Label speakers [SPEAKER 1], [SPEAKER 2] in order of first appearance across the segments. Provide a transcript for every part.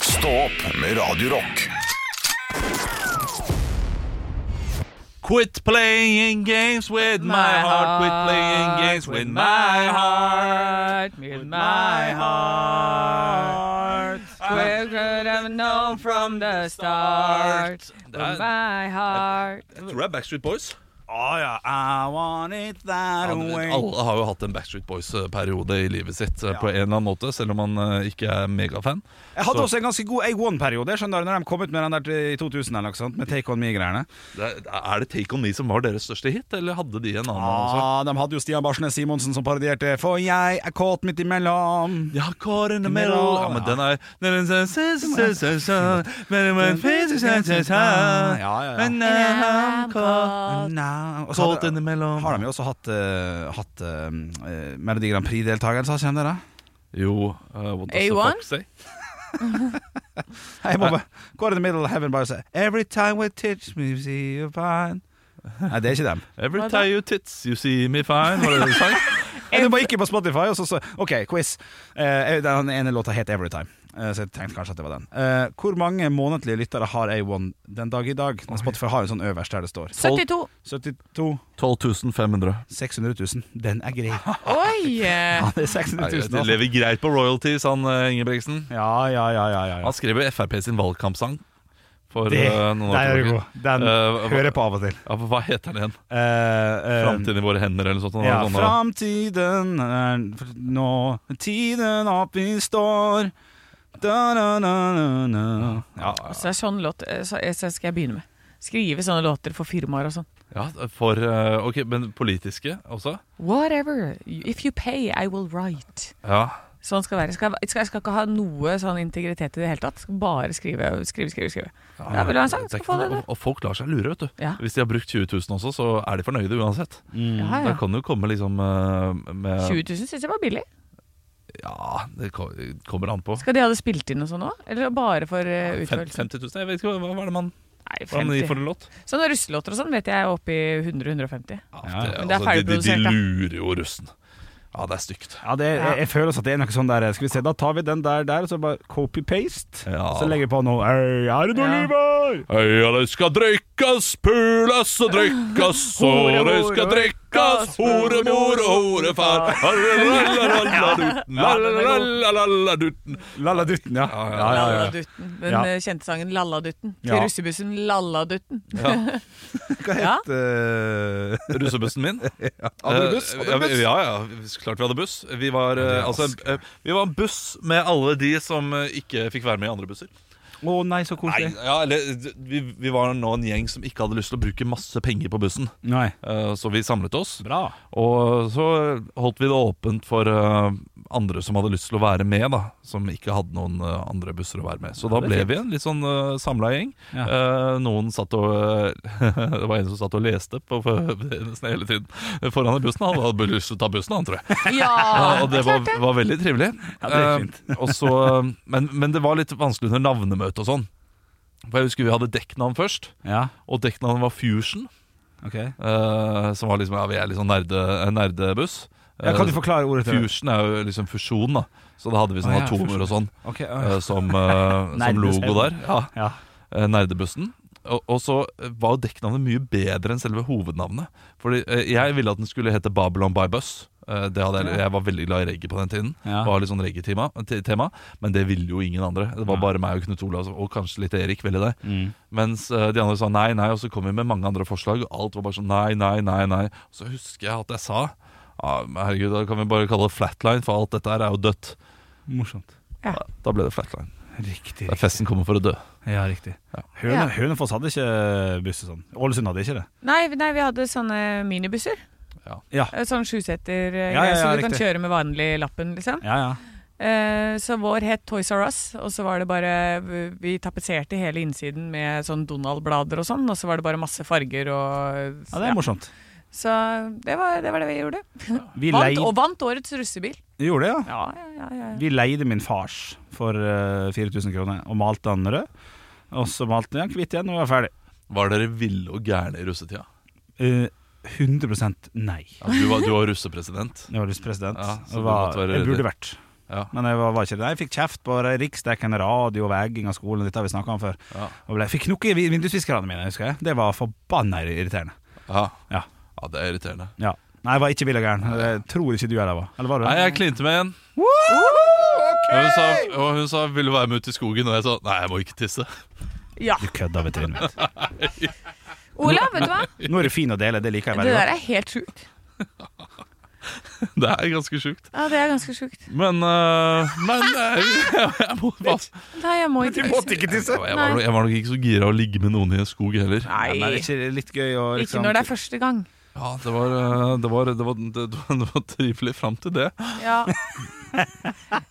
[SPEAKER 1] Stå opp med Radio Rock.
[SPEAKER 2] Quit playing games with my heart. Quit playing games with my heart.
[SPEAKER 3] With
[SPEAKER 2] My heart.
[SPEAKER 3] We could have known from the start.
[SPEAKER 2] Det er-
[SPEAKER 3] With my heart.
[SPEAKER 2] Tror det er Backstreet Boys.
[SPEAKER 4] Å Ah, ja. I want it that
[SPEAKER 2] Ja, men
[SPEAKER 4] way.
[SPEAKER 2] Alle har jo hatt en Backstreet Boys-periode i livet sitt eh, på en eller
[SPEAKER 4] Ja.
[SPEAKER 2] annen måte, selv om man eh, ikke er megafan.
[SPEAKER 4] Jeg hadde
[SPEAKER 2] Så-
[SPEAKER 4] også en ganske god A1-periode, skjønner du, når de kom ut med den der til- i 2000 eller noe sånt, med Take On Me-greiene.
[SPEAKER 2] Det Er er det Take On Me som var deres største hit, eller hadde de en annen? også?
[SPEAKER 4] Ah, de hadde jo Stian Barsnes Simonsen som parodierte 'For jeg er kåt midt imellom'.
[SPEAKER 2] Ja, caught in the middle Ja, men den er Men my face is
[SPEAKER 4] Ja, ja, ja.
[SPEAKER 2] Men I'm caught
[SPEAKER 4] Nei, og så
[SPEAKER 2] Caught
[SPEAKER 4] hadde-
[SPEAKER 2] in the middle
[SPEAKER 4] Har de jo også hatt, eh, hatt eh, eh, Melodi Grand Prix-deltakelse, har ikke de det? da?
[SPEAKER 2] Jo, uh, what does the
[SPEAKER 3] A1?
[SPEAKER 2] fuck say?
[SPEAKER 4] Hei, Bobbe. Gå in the middle of heaven bare og si 'Every time we teach me see you fine'. Nei, det er ikke dem.
[SPEAKER 2] Every
[SPEAKER 3] Hva da?
[SPEAKER 2] time you tits, you see me fine Var det det du sang?
[SPEAKER 4] Nei, Du bare gikk inn på Spotify, og så så OK, quiz. Eh, den ene låta het 'Everytime'. Eh, Så jeg tenkte kanskje at det var den. Eh, hvor mange månedlige lyttere har A1 den dag i dag? Men Spotify har en sånn øverst der det står
[SPEAKER 3] 72.
[SPEAKER 4] 72
[SPEAKER 2] 12 500
[SPEAKER 4] 600 000. Den er grei.
[SPEAKER 3] Oi!
[SPEAKER 4] Ja, det er 600 000,
[SPEAKER 2] Det
[SPEAKER 4] altså.
[SPEAKER 2] lever greit på royalties, han eh, Ingebrigtsen
[SPEAKER 4] Ja, ja, ja. ja, ja, ja.
[SPEAKER 2] Han skrev jo FRP sin valgkampsang Altså, For
[SPEAKER 4] Det,
[SPEAKER 2] eh, noen
[SPEAKER 4] der
[SPEAKER 2] år
[SPEAKER 4] er du
[SPEAKER 2] tilbake.
[SPEAKER 4] god. Den
[SPEAKER 2] Eh, hva-
[SPEAKER 4] hører jeg på av og til.
[SPEAKER 2] ja, Hva heter den igjen?
[SPEAKER 4] Eh, eh,
[SPEAKER 2] Framtiden i våre hender eller noe sånt han
[SPEAKER 4] Ja,
[SPEAKER 2] hadde sånn, da.
[SPEAKER 4] framtiden er nå Tiden opp vi står da, da, da, da, da. Ja, altså. ja.
[SPEAKER 3] Så det er sånn låt eh, så så skal jeg begynne med. Skrive sånne låter for firmaer og sånn.
[SPEAKER 2] ja, for eh, Ok, men politiske også?
[SPEAKER 3] Whatever. If you pay, I will write.
[SPEAKER 2] Ja
[SPEAKER 3] Sånn skal det være. Jeg skal, jeg skal, jeg skal ikke ha noe sånn integritet i det hele tatt. Skal Bare skrive, skrive, skrive. skrive. Ja, vil du ha en sang?
[SPEAKER 2] Det er
[SPEAKER 3] Skal få
[SPEAKER 2] ikke
[SPEAKER 3] det,
[SPEAKER 2] noe-
[SPEAKER 3] du.
[SPEAKER 2] og, og folk lar seg lure, vet du.
[SPEAKER 3] Ja.
[SPEAKER 2] Hvis de har brukt 20 000 også, så er de fornøyde uansett.
[SPEAKER 3] Ja,
[SPEAKER 2] Mm, Da
[SPEAKER 3] ja.
[SPEAKER 2] kan det jo komme liksom eh, med
[SPEAKER 3] 20 000 syns jeg var billig.
[SPEAKER 2] Ja, det ko- kommer an på.
[SPEAKER 3] Skal de ha det spilt inn og sånn òg? Eller bare for uh,
[SPEAKER 2] Fem-
[SPEAKER 3] utførelsen?
[SPEAKER 2] 50 000? Jeg vet ikke, hva hva er det man
[SPEAKER 3] Nei,
[SPEAKER 2] Hvordan de
[SPEAKER 3] 50.
[SPEAKER 2] får en låt?
[SPEAKER 3] Sånne russelåter og sånn vet jeg er oppe i 100-150.
[SPEAKER 4] Ja,
[SPEAKER 2] det-
[SPEAKER 3] men det
[SPEAKER 2] altså, de,
[SPEAKER 3] er
[SPEAKER 2] de,
[SPEAKER 3] ferdigprodusert, da.
[SPEAKER 2] de lurer jo russen. Ja, det er stygt.
[SPEAKER 4] Ja, det, jeg, jeg føler også at det er noe sånn der Skal vi se, da tar vi den der der, og så bare copy-paste.
[SPEAKER 2] Ja.
[SPEAKER 4] Så legger vi på noe Ei, er det noe
[SPEAKER 3] Ja.
[SPEAKER 4] liv her?
[SPEAKER 2] Øya, det skal drikkes, pules og drikkes, og det skal drikkes, horemor og horefar. Lalalalaladuten.
[SPEAKER 4] Lalladutten, ja.
[SPEAKER 2] Ja, ja,
[SPEAKER 4] Ja, ja, ja.
[SPEAKER 3] Lalladutten. Den
[SPEAKER 4] Ja.
[SPEAKER 3] eh, kjente sangen 'Lalladutten'. Til
[SPEAKER 4] Ja.
[SPEAKER 3] russebussen Lalladutten.
[SPEAKER 2] Ja.
[SPEAKER 4] Hva
[SPEAKER 3] Ja.
[SPEAKER 4] het eh,
[SPEAKER 2] Russebussen min?
[SPEAKER 4] Hadde du buss?
[SPEAKER 2] Eh,
[SPEAKER 4] Hadde du buss?
[SPEAKER 2] Ja, ja, ja, klart vi hadde buss. Vi var, eh,
[SPEAKER 4] det er
[SPEAKER 2] altså,
[SPEAKER 4] vanskelig.
[SPEAKER 2] eh, vi var en buss med alle de som eh, ikke fikk være med i andre busser.
[SPEAKER 4] Å nei, så
[SPEAKER 2] Nei,
[SPEAKER 4] koselig.
[SPEAKER 2] ja, eller, d- vi, vi var nå en gjeng som ikke hadde lyst til å bruke masse penger på bussen.
[SPEAKER 4] Nei.
[SPEAKER 2] Eh, Så vi samlet oss,
[SPEAKER 4] Bra.
[SPEAKER 2] og så holdt vi det åpent for eh, andre som hadde lyst til å være med, da. Som ikke hadde noen eh, andre busser å være med. Så
[SPEAKER 4] Ja,
[SPEAKER 2] da
[SPEAKER 4] det er
[SPEAKER 2] ble
[SPEAKER 4] fint.
[SPEAKER 2] vi en litt sånn uh, samla gjeng.
[SPEAKER 4] Ja.
[SPEAKER 2] Eh, noen satt og Det var en som satt og leste på, på, nesten hele tiden foran i bussen. Han hadde bare lyst til å ta bussen, han, tror jeg.
[SPEAKER 3] Ja!
[SPEAKER 2] Ja, og Ah, det var, var veldig trivelig.
[SPEAKER 4] Ja, det er fint.
[SPEAKER 2] Eh, og så, eh, men, men det var litt vanskelig under navnemøte og sånn. For jeg husker vi hadde dekknavn først,
[SPEAKER 4] Ja,
[SPEAKER 2] og dekknavnet var Fusion.
[SPEAKER 4] ok ja,
[SPEAKER 2] eh, som var liksom, ja, vi er litt sånn nerde, en nerdebuss. Eh,
[SPEAKER 4] Kan du forklare ordet til
[SPEAKER 2] Fusion er jo liksom fusjon, da. Så da hadde vi sånne
[SPEAKER 4] Å, ja,
[SPEAKER 2] atomer og sånn
[SPEAKER 4] Ok, ja, ja.
[SPEAKER 2] eh, som, eh, som
[SPEAKER 4] Nerdebuss.
[SPEAKER 2] logo der. Ja,
[SPEAKER 4] Ja.
[SPEAKER 2] eh, nerdebussen. Og, og så var jo dekknavnet mye bedre enn selve hovednavnet. Fordi eh, jeg ville at den skulle hete Babylon by Bus. Eh, Det hadde jeg, jeg var veldig glad i reggae på den tiden.
[SPEAKER 4] Ja.
[SPEAKER 2] Var litt sånn reggae-tema, te- tema, men det ville jo ingen andre. Det var bare meg og Knut Olav og kanskje litt Erik ville det.
[SPEAKER 4] Mm.
[SPEAKER 2] Mens eh, de andre sa nei, nei, og så kom vi med mange andre forslag, og alt var bare sånn nei, nei, nei. nei Og så husker jeg at jeg sa «Ja, men herregud, da kan vi bare kalle det flatline, for alt dette her er jo dødt.
[SPEAKER 4] Morsomt.
[SPEAKER 2] Ja, Da ble det flatline.
[SPEAKER 4] Riktig.
[SPEAKER 2] Der festen kommer for å dø.
[SPEAKER 4] Ja, riktig.
[SPEAKER 2] Ja.
[SPEAKER 4] Høne,
[SPEAKER 3] Ja.
[SPEAKER 4] Hønefoss hadde ikke buss og sånn. Ålesund hadde ikke det.
[SPEAKER 3] Nei, nei, vi hadde sånne minibusser.
[SPEAKER 4] Ja.
[SPEAKER 3] Eh, Sånn sjuseter, eh,
[SPEAKER 4] Ja, ja, ja,
[SPEAKER 3] så du kan
[SPEAKER 4] riktig.
[SPEAKER 3] kjøre med vanlig lappen, liksom.
[SPEAKER 4] Ja, ja.
[SPEAKER 3] Eh, så vår het Toys R Us, og så var det bare eh, Vi tapetserte hele innsiden med sånn Donald-blader og sånn, og så var det bare masse farger og
[SPEAKER 4] ja det er morsomt.
[SPEAKER 3] Så det var, det var det vi gjorde.
[SPEAKER 4] Vi
[SPEAKER 3] Vant,
[SPEAKER 4] leide,
[SPEAKER 3] og vant årets russebil.
[SPEAKER 4] gjorde det, ja.
[SPEAKER 3] Ja, ja, ja, ja.
[SPEAKER 4] Vi leide min fars for eh, 4000 kroner og malte han rød. Og så malte han hvitt igjen og var ferdig.
[SPEAKER 2] Var dere ville og gærne i russetida?
[SPEAKER 4] Eh, 100 nei.
[SPEAKER 2] Ja, du, var, du var russepresident.
[SPEAKER 4] Jeg var lystpresident.
[SPEAKER 2] Ja, så
[SPEAKER 4] og
[SPEAKER 2] du
[SPEAKER 4] var,
[SPEAKER 2] måtte være
[SPEAKER 4] jeg burde
[SPEAKER 2] redd.
[SPEAKER 4] vært.
[SPEAKER 2] Ja.
[SPEAKER 4] Men jeg var, var ikke det. Jeg fikk kjeft på riksdekkende radio og vegging av skolen. Dette har vi snakket om før.
[SPEAKER 2] Ja.
[SPEAKER 4] Og ble, fikk nok i vi- vindusviskerne mine, husker jeg. Det var forbanna irriterende.
[SPEAKER 2] Ja.
[SPEAKER 4] Ja.
[SPEAKER 2] ja, det er irriterende.
[SPEAKER 4] ja. Nei, jeg var ikke vill og gæren. Jeg tror ikke du heller var. Eller var du det?
[SPEAKER 2] Nei, jeg klinte med en. Og hun sa, og hun sa 'vil du være med ut i skogen', og jeg sa 'nei, jeg må ikke tisse'.
[SPEAKER 3] Ja.
[SPEAKER 4] Du kødda ved trynet mitt.
[SPEAKER 5] Olav, vet du hva?
[SPEAKER 4] Nå er du fin å dele, det liker jeg
[SPEAKER 5] Det
[SPEAKER 4] veldig
[SPEAKER 5] der
[SPEAKER 4] godt.
[SPEAKER 5] er helt sjukt.
[SPEAKER 2] Det er ganske sjukt.
[SPEAKER 5] Ja, det er ganske sjukt.
[SPEAKER 2] Men eh, Men eh, jeg, jeg må bare
[SPEAKER 5] Nei, jeg må ikke tisse.
[SPEAKER 4] ikke tisse!
[SPEAKER 2] jeg, var- jeg, var, jeg var nok ikke så gira å ligge med noen i en skog heller.
[SPEAKER 4] Nei, men er
[SPEAKER 3] Nei.
[SPEAKER 4] det ikke litt gøy å
[SPEAKER 3] Ikke
[SPEAKER 4] liksom
[SPEAKER 3] når det er første gang.
[SPEAKER 2] Ja, det var, eh, det var, det var, det, det var trivelig fram til det.
[SPEAKER 3] Ja. ja,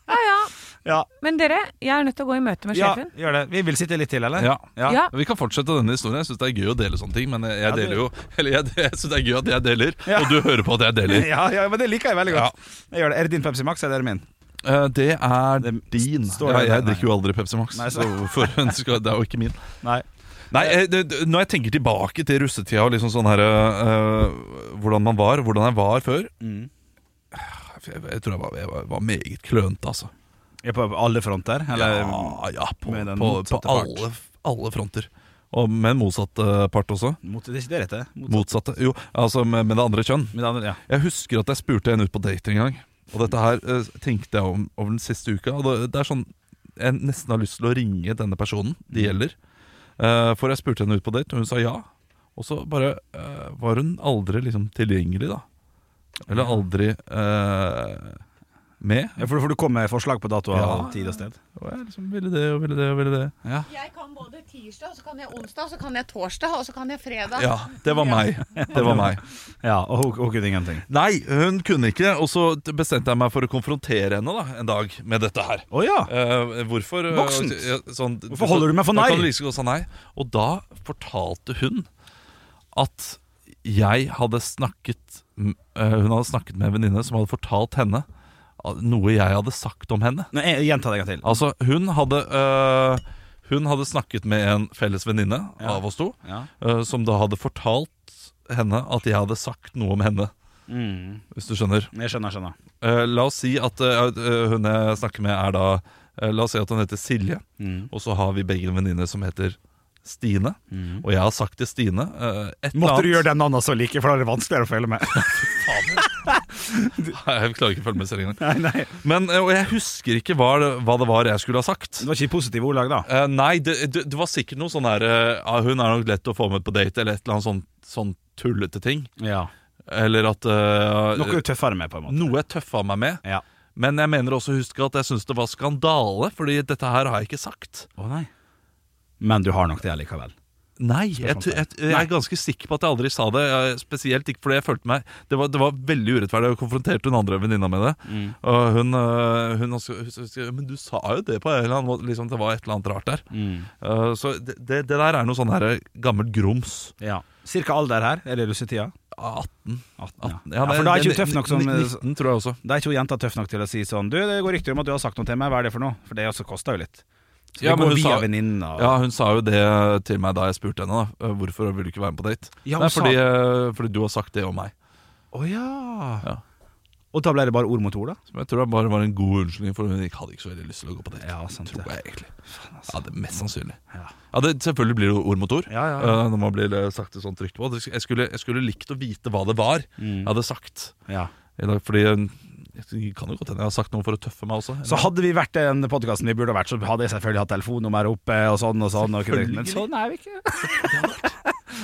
[SPEAKER 3] ja.
[SPEAKER 4] Ja,
[SPEAKER 3] Men dere, jeg er nødt til å gå i møte med
[SPEAKER 4] ja,
[SPEAKER 3] sjefen.
[SPEAKER 4] gjør det. Vi vil sitte litt til, eller?
[SPEAKER 2] Ja.
[SPEAKER 3] Ja.
[SPEAKER 2] Vi kan fortsette denne historien. Jeg syns det er gøy å dele sånne ting, men jeg
[SPEAKER 4] det-
[SPEAKER 2] deler jo Eller jeg, jeg synes det er gøy at jeg deler,
[SPEAKER 4] Ja.
[SPEAKER 2] og du hører på at jeg deler.
[SPEAKER 4] Ja, ja, men det liker jeg veldig godt. Jeg gjør det. Er det din Pepsi Max, eller er det min?
[SPEAKER 2] Eh, det er
[SPEAKER 4] Det
[SPEAKER 2] din.
[SPEAKER 4] står
[SPEAKER 2] ja,
[SPEAKER 4] der,
[SPEAKER 2] jeg
[SPEAKER 4] nei.
[SPEAKER 2] drikker jo aldri Pepsi Max,
[SPEAKER 4] Nei,
[SPEAKER 2] så
[SPEAKER 4] så-
[SPEAKER 2] hvorfor skal Det er jo ikke min.
[SPEAKER 4] Nei.
[SPEAKER 2] Nei, eh, det, det- Når jeg tenker tilbake til russetida og liksom sånn her eh, hvordan man var, hvordan jeg var før
[SPEAKER 4] Mm.
[SPEAKER 2] Jeg, jeg tror jeg var, jeg var, var meget klønete, altså.
[SPEAKER 4] Er på alle fronter? Eller? mm,
[SPEAKER 2] ja, ja, på,
[SPEAKER 4] med den
[SPEAKER 2] på, på
[SPEAKER 4] motsatte part.
[SPEAKER 2] alle, alle fronter. Og med motsatt eh, part også.
[SPEAKER 4] Mot, det er ikke det rette? Mot,
[SPEAKER 2] Motsatte. Jo, altså med, med det andre kjønn.
[SPEAKER 4] med det andre, ja.
[SPEAKER 2] Jeg husker at jeg spurte en ut på date en gang. Og dette her eh, tenkte jeg om over den siste uka. Og det, det er sånn Jeg nesten har lyst til å ringe denne personen det gjelder. Eh, for jeg spurte henne ut på date, og hun sa ja. Og så bare eh, var hun aldri liksom tilgjengelig, da. Eller aldri eh, med.
[SPEAKER 4] ja for, for du kom med forslag på dato og
[SPEAKER 2] Ja.
[SPEAKER 4] tid og sted?
[SPEAKER 2] Og jeg liksom ville det og ville det og ville det.
[SPEAKER 4] Ja.
[SPEAKER 5] Jeg kan både tirsdag, og så kan jeg onsdag, og så kan jeg torsdag, og så kan jeg fredag.
[SPEAKER 2] Ja, det var meg. Det var meg.
[SPEAKER 4] ja og hun, hun kunne ingenting?
[SPEAKER 2] Nei, hun kunne ikke. Og så bestemte jeg meg for å konfrontere henne da, en dag med dette her.
[SPEAKER 4] Å ja!
[SPEAKER 2] Eh, hvorfor eh,
[SPEAKER 4] Voksent.
[SPEAKER 2] ja, sånn,
[SPEAKER 4] Hvorfor holder du meg for
[SPEAKER 2] Da
[SPEAKER 4] nei?
[SPEAKER 2] kan du like så godt si nei. Og da fortalte hun at jeg hadde snakket m- eh, Hun hadde snakket med en venninne som hadde fortalt henne eh, noe jeg hadde sagt om henne.
[SPEAKER 4] Nei, jeg- Gjenta det en gang til.
[SPEAKER 2] Altså, hun hadde eh, Hun hadde snakket med en felles venninne
[SPEAKER 4] Ja.
[SPEAKER 2] av oss to,
[SPEAKER 4] Ja.
[SPEAKER 2] eh, som da hadde fortalt henne at jeg hadde sagt noe om henne,
[SPEAKER 4] Mm.
[SPEAKER 2] hvis du skjønner.
[SPEAKER 4] Jeg skjønner, skjønner.
[SPEAKER 2] Eh, la oss si at eh, eh, hun jeg snakker med, er da eh, La oss si at hun heter Silje,
[SPEAKER 4] Mm.
[SPEAKER 2] og så har vi begge en venninne som heter Stine.
[SPEAKER 4] Mm.
[SPEAKER 2] Og jeg har sagt til Stine eh, et eller
[SPEAKER 4] Måtte
[SPEAKER 2] annet
[SPEAKER 4] du gjøre den andre så like, for da er det vanskeligere å følge med.
[SPEAKER 2] Nei, Jeg klarer ikke å følge med selv engang.
[SPEAKER 4] nei, nei.
[SPEAKER 2] Men, eh, og jeg husker ikke hva det, hva det var jeg skulle ha sagt.
[SPEAKER 4] Det var ikke i positive ordlag, da?
[SPEAKER 2] Eh, nei, det, det, det var sikkert noe sånn her eh, ah, Hun er nok lett å få med på date, eller et eller annet sånn, sånn tullete ting.
[SPEAKER 4] Ja.
[SPEAKER 2] Eller at eh,
[SPEAKER 4] Noe du tøffere med, på en måte.
[SPEAKER 2] Noe jeg tøffa meg med.
[SPEAKER 4] Ja.
[SPEAKER 2] Men jeg mener også å huske at jeg syns det var skandale, Fordi dette her har jeg ikke sagt.
[SPEAKER 4] Å nei. Men du har nok det allikevel.
[SPEAKER 2] Nei, jeg, t- jeg, jeg er ganske sikker på at jeg aldri sa det. Jeg, spesielt ikke fordi jeg følte meg Det var, det var veldig urettferdig. Jeg konfronterte hun andre venninna med det.
[SPEAKER 4] Mm.
[SPEAKER 2] Og hun, øh, hun også, husker- husker, Men du sa jo det på en eller annen måte. Liksom, det var et eller annet rart der. Uh, så det, det, det der er noe sånn her gammelt grums.
[SPEAKER 4] Ja. Cirka alder her? Er det russetida?
[SPEAKER 2] 18.
[SPEAKER 4] 18,
[SPEAKER 2] Ja,
[SPEAKER 4] ja. ja, for da er ikke hun tøff nok som øh, eh,
[SPEAKER 2] 19, tror jeg også.
[SPEAKER 4] Da er ikke hun jenta tøff nok til å si sånn Du, det går rykter om at du har sagt noe til meg, hva er det for noe? For det også koster jo litt. Så
[SPEAKER 2] Ja,
[SPEAKER 4] det
[SPEAKER 2] men
[SPEAKER 4] går
[SPEAKER 2] hun
[SPEAKER 4] via
[SPEAKER 2] sa-
[SPEAKER 4] venninnen og
[SPEAKER 2] Ja, hun sa jo det til meg da jeg spurte henne. da Uh, Hvorfor vil du ikke være med på date?
[SPEAKER 4] Ja,
[SPEAKER 2] Nei,
[SPEAKER 4] hun sa-
[SPEAKER 2] fordi, uh, fordi du har sagt det om meg.
[SPEAKER 4] Å ja.
[SPEAKER 2] Ja.
[SPEAKER 4] Og da ble det bare ord mot ord, da?
[SPEAKER 2] Som jeg tror bare var en god unnskyldning, for hun ikke- hadde ikke så veldig lyst til å gå på date.
[SPEAKER 4] Ja, sant
[SPEAKER 2] tror
[SPEAKER 4] det.
[SPEAKER 2] jeg egentlig. Ja, det er Mest sannsynlig.
[SPEAKER 4] altså. Ja.
[SPEAKER 2] Ja, det, Selvfølgelig blir det jo ord mot ord.
[SPEAKER 4] Ja, ja, ja.
[SPEAKER 2] eh, Når man blir eh, sagt det sånn trygt på Det- jeg skulle, jeg skulle likt å vite hva det var jeg hadde sagt.
[SPEAKER 4] Mm, Ja.
[SPEAKER 2] I dag, fordi eh, jeg kan jo godt hende jeg har sagt noe for å tøffe meg også.
[SPEAKER 4] Så hadde vi vært den podkasten vi burde ha vært, så hadde jeg selvfølgelig hatt telefonnummer oppe og sånn og sånn. Og
[SPEAKER 2] Selvfølgelig.
[SPEAKER 4] men sånn er vi ikke.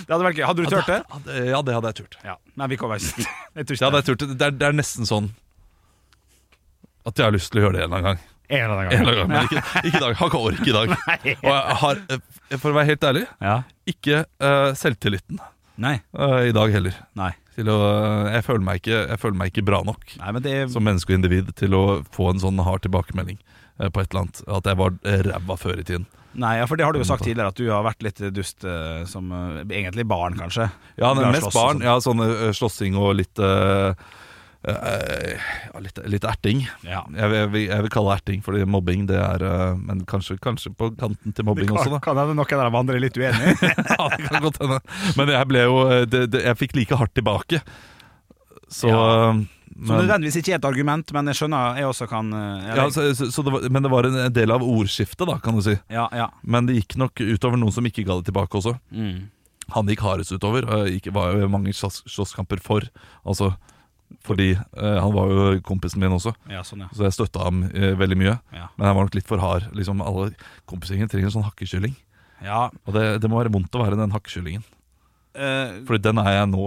[SPEAKER 4] det hadde vært gøy. Hadde du turt det?
[SPEAKER 2] Ja, det, ja, det hadde jeg turt.
[SPEAKER 4] Ja. Nei, vi kommer ikke Jeg tror
[SPEAKER 2] Det,
[SPEAKER 4] ikke
[SPEAKER 2] hadde jeg turt. Det, er, det er nesten sånn at jeg har lyst til å gjøre det en eller annen gang.
[SPEAKER 4] En eller annen
[SPEAKER 2] En
[SPEAKER 4] gang.
[SPEAKER 2] eller annen gang men ikke, ikke i dag. Har ikke ork i dag. Og jeg har, eh, for å være helt ærlig,
[SPEAKER 4] Ja.
[SPEAKER 2] ikke eh, selvtilliten
[SPEAKER 4] Nei.
[SPEAKER 2] eh, i dag heller.
[SPEAKER 4] Nei.
[SPEAKER 2] Til å, eh, jeg, føler meg ikke, jeg føler meg ikke bra nok
[SPEAKER 4] Nei, men det er
[SPEAKER 2] som menneske og individ til å få en sånn hard tilbakemelding eh, på et eller annet. At jeg var eh, ræva før i tiden.
[SPEAKER 4] Nei, ja, for det har du jo sagt tidligere, at du har vært litt dust eh, som eh, egentlig barn, kanskje.
[SPEAKER 2] Ja,
[SPEAKER 4] Du har
[SPEAKER 2] men mest
[SPEAKER 4] slåss og
[SPEAKER 2] barn.
[SPEAKER 4] sånn.
[SPEAKER 2] Ja, sånn eh, slåssing og litt eh, eh, ja, litt, litt erting.
[SPEAKER 4] Ja.
[SPEAKER 2] Jeg, vil- jeg, vil- jeg vil kalle det erting, fordi mobbing det er eh, Men kanskje, kanskje på kanten til mobbing også, da.
[SPEAKER 4] Kan hende noen av de andre er litt uenig.
[SPEAKER 2] ja, det kan eh, godt hende. Men jeg ble jo det, det, Jeg fikk like hardt tilbake. Så
[SPEAKER 4] Ja.
[SPEAKER 2] eh,
[SPEAKER 4] Som
[SPEAKER 2] Men,
[SPEAKER 4] nødvendigvis ikke er et argument, men jeg skjønner jeg også kan eh,
[SPEAKER 2] ja, så, så, så det var, men det var en del av ordskiftet, da, kan du si.
[SPEAKER 4] ja, ja.
[SPEAKER 2] Men det gikk nok utover noen som ikke ga det tilbake også.
[SPEAKER 4] Mm.
[SPEAKER 2] Han gikk hardest utover. og Gikk, var jo mange slåss, slåsskamper for. Altså fordi eh, han var jo kompisen min også,
[SPEAKER 4] ja, sånn ja.
[SPEAKER 2] så jeg støtta ham eh, veldig mye.
[SPEAKER 4] Ja.
[SPEAKER 2] Men jeg var nok litt for hard. Liksom Alle kompisgjengen trenger en sånn hakkekylling.
[SPEAKER 4] ja.
[SPEAKER 2] Og det, det må være vondt å være den hakkekyllingen.
[SPEAKER 4] Eh,
[SPEAKER 2] Fordi den er jeg nå.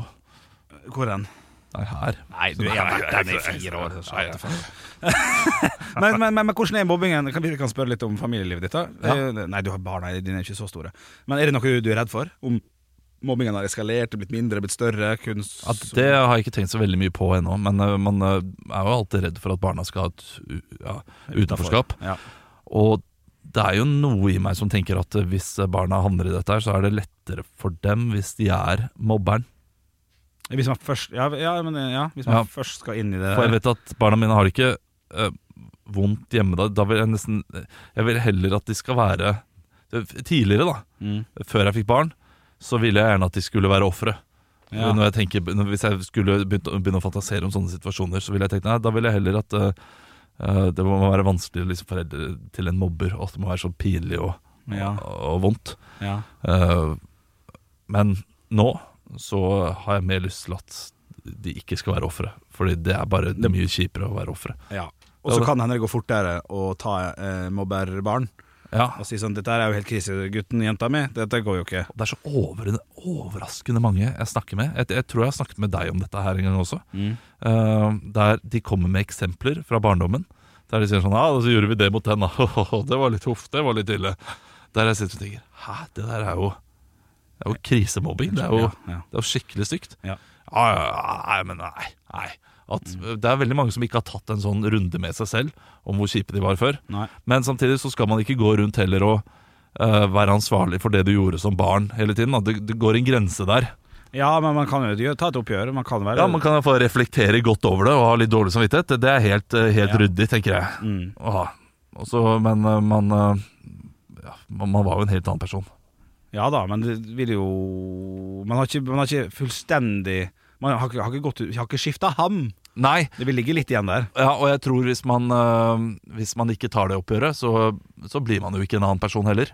[SPEAKER 4] hvor er den?
[SPEAKER 2] Nei, her.
[SPEAKER 4] Nei, du jeg har vært der i fire år. så jeg vet ikke. men, men, men, men hvordan er mobbingen? Kan vi kan spørre litt om familielivet ditt? da Eh, Nei, du har barna dine er ikke så store. Men er det noe du er redd for? Om mobbingen har eskalert, blitt mindre, blitt større? Kunst
[SPEAKER 2] Ja, det har jeg ikke tenkt så veldig mye på ennå, men eh, man eh, er jo alltid redd for at barna skal ha et u- ja, utenforskap.
[SPEAKER 4] Ja.
[SPEAKER 2] Og det er jo noe i meg som tenker at eh, hvis barna havner i dette, her, så er det lettere for dem hvis de er mobberen.
[SPEAKER 4] Hvis man først Ja, ja men ja, hvis
[SPEAKER 2] Ja.
[SPEAKER 4] man først skal inn i det
[SPEAKER 2] For jeg vet at barna mine har det ikke eh, vondt hjemme. Da, da vil jeg nesten Jeg vil heller at de skal være Tidligere, da,
[SPEAKER 4] Mm.
[SPEAKER 2] før jeg fikk barn, så ville jeg gjerne at de skulle være ofre.
[SPEAKER 4] Ja.
[SPEAKER 2] Når jeg tenker, når- Hvis jeg skulle begynt, å- begynne å fantasere om sånne situasjoner, så ville jeg tenkt nei, da ville jeg heller at eh, eh, det må være vanskelig liksom, foreldre til en mobber, og at det må være så pinlig og,
[SPEAKER 4] Ja.
[SPEAKER 2] og, og vondt.
[SPEAKER 4] Ja.
[SPEAKER 2] Eh, men nå så har jeg mer lyst til at de ikke skal være ofre. Fordi det er bare mye kjipere å være ofre.
[SPEAKER 4] ja. Og så kan det hende det går fortere å ta eh, mobberbarn
[SPEAKER 2] Ja. altså,
[SPEAKER 4] og si sånn 'Dette her er jo helt krise, gutten, jenta mi. Dette går jo ikke'.
[SPEAKER 2] Det er så over, overraskende mange jeg snakker med. Jeg, jeg tror jeg har snakket med deg om dette her en gang også.
[SPEAKER 4] Mm.
[SPEAKER 2] Eh, der de kommer med eksempler fra barndommen. Der de sier sånn Ja, ah, så gjorde vi det mot den, da. det var litt huff, det var litt ille. Der jeg sitter og tenker Hæ, det der er jo Det er jo krisemobbing. Det er jo,
[SPEAKER 4] Ja, ja.
[SPEAKER 2] det er jo skikkelig stygt.
[SPEAKER 4] Ja.
[SPEAKER 2] Ja, ja, ja, Nei, men nei. nei. At eh, Det er veldig mange som ikke har tatt en sånn runde med seg selv om hvor kjipe de var før.
[SPEAKER 4] Nei.
[SPEAKER 2] Men samtidig så skal man ikke gå rundt heller og eh, være ansvarlig for det du gjorde som barn hele tiden. Da. Det, det går en grense der.
[SPEAKER 4] Ja, men man kan jo gjøre- ta et oppgjør. Man kan være
[SPEAKER 2] Ja, Man kan i hvert fall reflektere godt over det og ha litt dårlig samvittighet. Det- Det er helt, eh, helt
[SPEAKER 4] Ja.
[SPEAKER 2] ryddig, tenker jeg.
[SPEAKER 4] Mm.
[SPEAKER 2] å ha. Og så- men eh, man eh, ja, man man var jo en helt annen person.
[SPEAKER 4] Ja da, men det vil jo Man har ikke, man har ikke fullstendig Man har ikke, har ikke, gått ut- har ikke skifta ham.
[SPEAKER 2] Nei,
[SPEAKER 4] Det vil ligge litt igjen der.
[SPEAKER 2] ja, og jeg tror hvis man, eh, hvis man ikke tar det oppgjøret, så, så blir man jo ikke en annen person heller.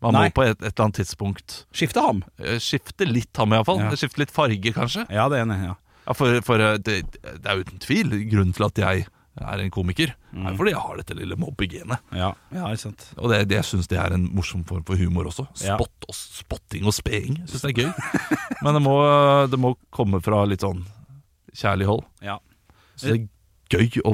[SPEAKER 2] Man
[SPEAKER 4] Nei.
[SPEAKER 2] må på et, et eller annet tidspunkt
[SPEAKER 4] Skifte ham?
[SPEAKER 2] eh, skifte litt ham, iallfall.
[SPEAKER 4] Ja.
[SPEAKER 2] fall Skifte litt farge, kanskje.
[SPEAKER 4] Ja, det er enig. Ja.
[SPEAKER 2] Ja, for, for eh, det, det er uten tvil grunnen til at jeg er en komiker.
[SPEAKER 4] Mm.
[SPEAKER 2] er fordi jeg har dette lille mobbegenet.
[SPEAKER 4] Ja, ja, ikke sant.
[SPEAKER 2] Og det, det, jeg syns det er en morsom form for humor også.
[SPEAKER 4] Ja.
[SPEAKER 2] Spott og spotting og speing. Syns det er gøy. Men det må, det må komme fra litt sånn kjærlig hold.
[SPEAKER 4] Ja.
[SPEAKER 2] Så det er gøy å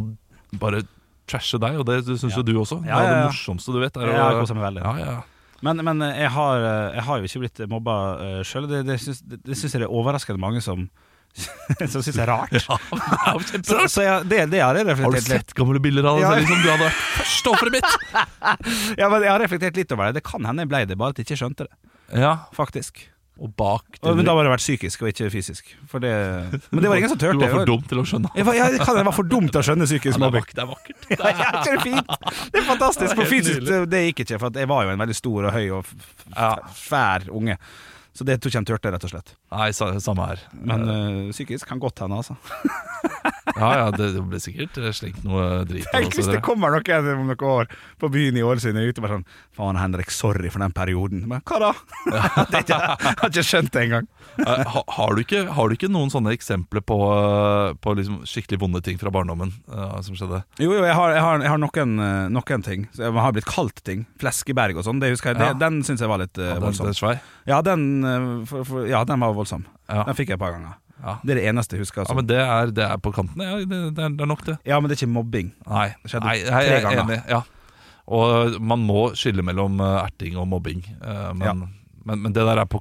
[SPEAKER 2] bare trashe deg, og det syns
[SPEAKER 4] Ja.
[SPEAKER 2] jo du også.
[SPEAKER 4] Ja,
[SPEAKER 2] Det er
[SPEAKER 4] ja, ja.
[SPEAKER 2] det morsomste du vet. Er
[SPEAKER 4] Jeg
[SPEAKER 2] å-
[SPEAKER 4] har koset meg veldig.
[SPEAKER 2] Ja, ja.
[SPEAKER 4] Men, men jeg, har, eh, jeg har jo ikke blitt mobba sjøl. Det, det, syns- det, det syns jeg det er overraskende mange som Som syns det er rart.
[SPEAKER 2] ja. det er
[SPEAKER 4] Så,
[SPEAKER 2] kjemperart.
[SPEAKER 4] så jeg, det, det har
[SPEAKER 2] Har du
[SPEAKER 4] jeg reflektert litt
[SPEAKER 2] sett gamle bilder av deg
[SPEAKER 4] Ja.
[SPEAKER 2] selv som du hadde vært første offeret mitt?
[SPEAKER 4] Ja, men jeg har reflektert litt over det. Det kan hende jeg ble det, bare at jeg ikke skjønte det.
[SPEAKER 2] Ja,
[SPEAKER 4] Faktisk.
[SPEAKER 2] og bak
[SPEAKER 4] Og, men da må det ha vært psykisk og ikke fysisk. For det, men det var ingen som turte.
[SPEAKER 2] Du var
[SPEAKER 4] Jeg
[SPEAKER 2] for dum til å skjønne.
[SPEAKER 4] Jeg var, jeg, kan, jeg var for dum til å skjønne
[SPEAKER 2] Ja,
[SPEAKER 4] psykisk
[SPEAKER 2] det, er
[SPEAKER 4] mobbing.
[SPEAKER 2] vak- det er vakkert.
[SPEAKER 4] Ja, ja, ikke det er fint. Det er fantastisk.
[SPEAKER 2] Det
[SPEAKER 4] For
[SPEAKER 2] er helt
[SPEAKER 4] fysisk det gikk ikke, for at jeg var jo en veldig stor og høy og f- f- svær unge. Så det tror ikke han turte, rett og slett.
[SPEAKER 2] Nei, sa- samme her.
[SPEAKER 4] Men øh, psykisk kan godt hende, altså.
[SPEAKER 2] Ja, ja, det, det ble sikkert eh, slengt noe drit av
[SPEAKER 4] Tenk
[SPEAKER 2] oss.
[SPEAKER 4] hvis det
[SPEAKER 2] dere.
[SPEAKER 4] kommer noen om noen år på byen i Ålesund og er ute bare sånn Faen, Henrik, sorry for den perioden. Men hva da? det er ikke, jeg har ikke skjønt det engang.
[SPEAKER 2] Eh, ha- Har, du ikke- har du ikke noen sånne eksempler på, eh, på liksom skikkelig vonde ting fra barndommen eh, som skjedde?
[SPEAKER 4] Jo, jo, jeg har, jeg har, jeg har noen, øh, noen ting. Så jeg har blitt kalt ting. Fleskeberg og sånn. Det husker jeg.
[SPEAKER 2] Ja.
[SPEAKER 4] Det, den syns jeg var litt øh,
[SPEAKER 2] Ja, den,
[SPEAKER 4] voldsom.
[SPEAKER 2] den svei?
[SPEAKER 4] Ja den, øh, for, for, ja, den var voldsom.
[SPEAKER 2] Ja.
[SPEAKER 4] Den fikk jeg et par ganger.
[SPEAKER 2] Ja.
[SPEAKER 4] Det er det eneste jeg husker.
[SPEAKER 2] ja,
[SPEAKER 4] Altså.
[SPEAKER 2] men det er, det er på kanten. Ja, det, det, er, det er nok, det.
[SPEAKER 4] Ja, men det er ikke mobbing.
[SPEAKER 2] Nei,
[SPEAKER 4] Det skjedde
[SPEAKER 2] nei jeg, jeg
[SPEAKER 4] tre
[SPEAKER 2] er
[SPEAKER 4] ganger.
[SPEAKER 2] enig. Ja. Og eh, man må skille mellom eh, erting og mobbing. eh, Men,
[SPEAKER 4] Ja.
[SPEAKER 2] men, men det der er på,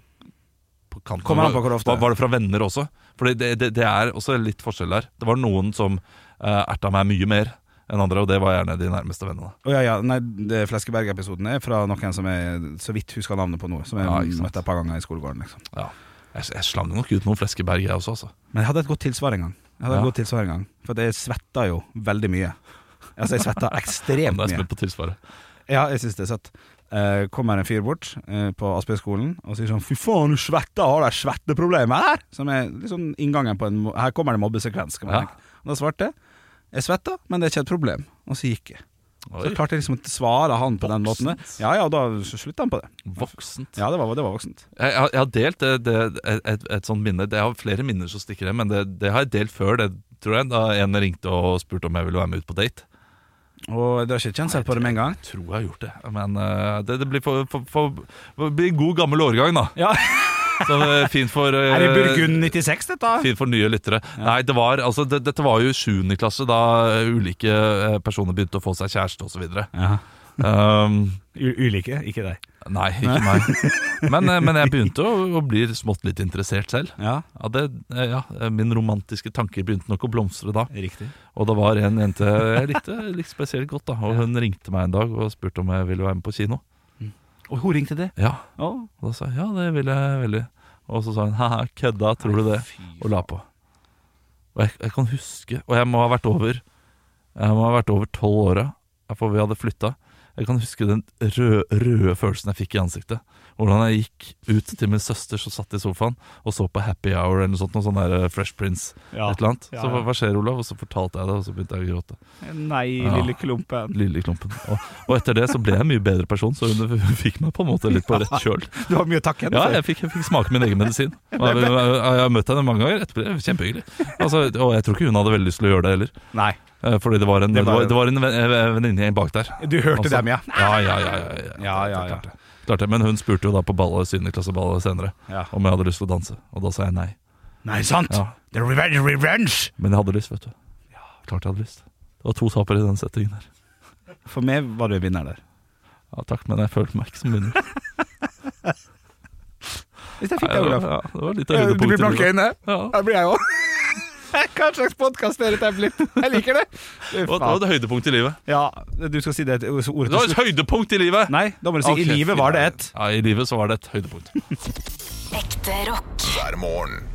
[SPEAKER 2] på kanten.
[SPEAKER 4] Kommer an på hvor ofte.
[SPEAKER 2] Var, var det fra venner også? Fordi det, det, det er også litt forskjell der. Det var noen som eh, erta meg mye mer enn andre, og det var gjerne de nærmeste vennene.
[SPEAKER 4] Å ja, ja, nei, det Fleskeberg-episoden er fra noen som jeg så vidt husker navnet på nå. Som jeg
[SPEAKER 2] Ja, ikke sant.
[SPEAKER 4] møtte et par ganger i skolegården. Liksom.
[SPEAKER 2] Ja. Jeg, jeg slang nok ut noen fleskeberg, jeg også. Altså.
[SPEAKER 4] Men jeg hadde et godt tilsvar en gang. Jeg hadde
[SPEAKER 2] Ja.
[SPEAKER 4] et godt tilsvar en gang For at jeg svetta jo veldig mye. Altså, jeg svetta ekstremt
[SPEAKER 2] Da er jeg
[SPEAKER 4] mye.
[SPEAKER 2] spent på tilsvaret.
[SPEAKER 4] Ja, jeg syns det er søtt. Eh, kommer en fyr bort eh, på Aspøyskolen og sier sånn 'Fy faen, du svetter! Har du svetteproblemer her?' Som er liksom inngangen på en mo- Her kommer det mobbesekvens. Skal man
[SPEAKER 2] Ja.
[SPEAKER 4] tenke. Og da svarte jeg jeg svetta, men det er ikke et problem. Og så gikk jeg. Så
[SPEAKER 2] Oi,
[SPEAKER 4] klarte jeg liksom å svare han på den måten.
[SPEAKER 2] Voksent.
[SPEAKER 4] Ja, ja, og da slutta han på det.
[SPEAKER 2] voksent.
[SPEAKER 4] Ja, det var, det var voksent.
[SPEAKER 2] Jeg, jeg, har- jeg har delt det, det, et, et, et sånt minne. Det- Jeg har flere minner som stikker hjem, men det, det har jeg delt før, det tror jeg. Da en ringte og spurte om jeg ville være med ut på date.
[SPEAKER 4] Og det har ikke kjent seg på det med en gang.
[SPEAKER 2] Jeg tror jeg har gjort det, men eh, det, det blir for, for, for, det blir god gammel årgang, da.
[SPEAKER 4] Ja,
[SPEAKER 2] Så eh, fint for eh,
[SPEAKER 4] Er det Burgund 96, dette?
[SPEAKER 2] Fint for nye lyttere. Nei, det var, altså, det, dette var jo 7. klasse, da ulike eh, personer begynte å få seg kjæreste osv.
[SPEAKER 4] Ja.
[SPEAKER 2] Um,
[SPEAKER 4] U- Ulike, ikke deg.
[SPEAKER 2] nei, ikke meg. Men, eh, men jeg begynte å, å bli smått litt interessert selv.
[SPEAKER 4] Ja,
[SPEAKER 2] Ja, det, eh, ja, Min romantiske tanker begynte nok å blomstre da.
[SPEAKER 4] riktig.
[SPEAKER 2] Og det var en jente jeg likte, likte spesielt godt, da. og hun ringte meg en dag og spurte om jeg ville være med på kino.
[SPEAKER 4] Og hun ringte det?
[SPEAKER 2] Ja,
[SPEAKER 4] Å,
[SPEAKER 2] Og da sa jeg ja, det vil jeg veldig. Og så sa hun haha, kødda, tror du det? Og la på. Og jeg, jeg kan huske, og jeg må ha vært over Jeg må ha vært over tolv åra, for vi hadde flytta. Jeg kan huske den røde, røde følelsen jeg fikk i ansiktet. Hvordan jeg gikk ut til min søster som satt i sofaen og så på Happy Hour eller noe sånt. Noe sånn der eh, Fresh Prince.
[SPEAKER 4] ja.
[SPEAKER 2] Et eller annet.
[SPEAKER 4] Ja,
[SPEAKER 2] Så
[SPEAKER 4] ja.
[SPEAKER 2] hva- hva skjer, Olav? Og så fortalte jeg det, og så begynte jeg å gråte.
[SPEAKER 4] Nei,
[SPEAKER 2] Ja.
[SPEAKER 4] lille klumpen.
[SPEAKER 2] Lille klumpen. Og, og etter det så ble jeg en mye bedre person, så hun fikk meg på en måte litt på rett kjøl.
[SPEAKER 4] Du har mye å takke henne
[SPEAKER 2] Ja,
[SPEAKER 4] for.
[SPEAKER 2] jeg fikk, jeg fikk smake min egen medisin. Og Jeg, jeg, jeg har møtt henne mange ganger etterpå. det er Kjempehyggelig. Altså, og jeg tror ikke hun hadde veldig lyst til å gjøre det heller.
[SPEAKER 4] Nei,
[SPEAKER 2] Eh, Fordi det var en, det
[SPEAKER 4] Det var-
[SPEAKER 2] var, det var en ven- eh, venninne bak der.
[SPEAKER 4] du hørte
[SPEAKER 2] Altså,
[SPEAKER 4] dem, ja.
[SPEAKER 2] Ja, ja, ja. ja, ja.
[SPEAKER 4] Ja, ja, ja.
[SPEAKER 2] Klart det. Klart det. Men hun spurte jo da på ballet, syvendeklasseballet senere
[SPEAKER 4] ja.
[SPEAKER 2] om jeg hadde lyst til å danse, og da sa jeg nei.
[SPEAKER 4] Nei, sant?
[SPEAKER 2] Ja.
[SPEAKER 4] Det er revenge, revenge!
[SPEAKER 2] Men jeg hadde lyst, vet du. Klart jeg hadde lyst. Det var to tapere i den settingen der.
[SPEAKER 4] For meg var du vinner der.
[SPEAKER 2] Ja, takk, men jeg følte meg ikke som vinner.
[SPEAKER 4] Hvis jeg fikk
[SPEAKER 2] Nei,
[SPEAKER 4] deg,
[SPEAKER 2] det var-
[SPEAKER 4] Olav.
[SPEAKER 2] Ja,
[SPEAKER 4] Eh,
[SPEAKER 2] det var litt av
[SPEAKER 4] Du blir blank i
[SPEAKER 2] høydepunktet.
[SPEAKER 4] øynene.
[SPEAKER 2] Ja.
[SPEAKER 4] Det blir jeg òg. Hva slags podkast er dette blitt? Jeg liker det. Fy
[SPEAKER 2] Det var
[SPEAKER 4] faen.
[SPEAKER 2] et høydepunkt i livet.
[SPEAKER 4] Ja, du skal si det et- ordet
[SPEAKER 2] Det
[SPEAKER 4] til
[SPEAKER 2] var et
[SPEAKER 4] slutt.
[SPEAKER 2] høydepunkt i livet!
[SPEAKER 4] Nei, da må du si
[SPEAKER 2] Ok,
[SPEAKER 4] i livet
[SPEAKER 2] fy
[SPEAKER 4] var det
[SPEAKER 2] faen.
[SPEAKER 4] ett.
[SPEAKER 2] Ja, i livet så var det et høydepunkt.
[SPEAKER 6] Ekte rock.
[SPEAKER 1] hver morgen.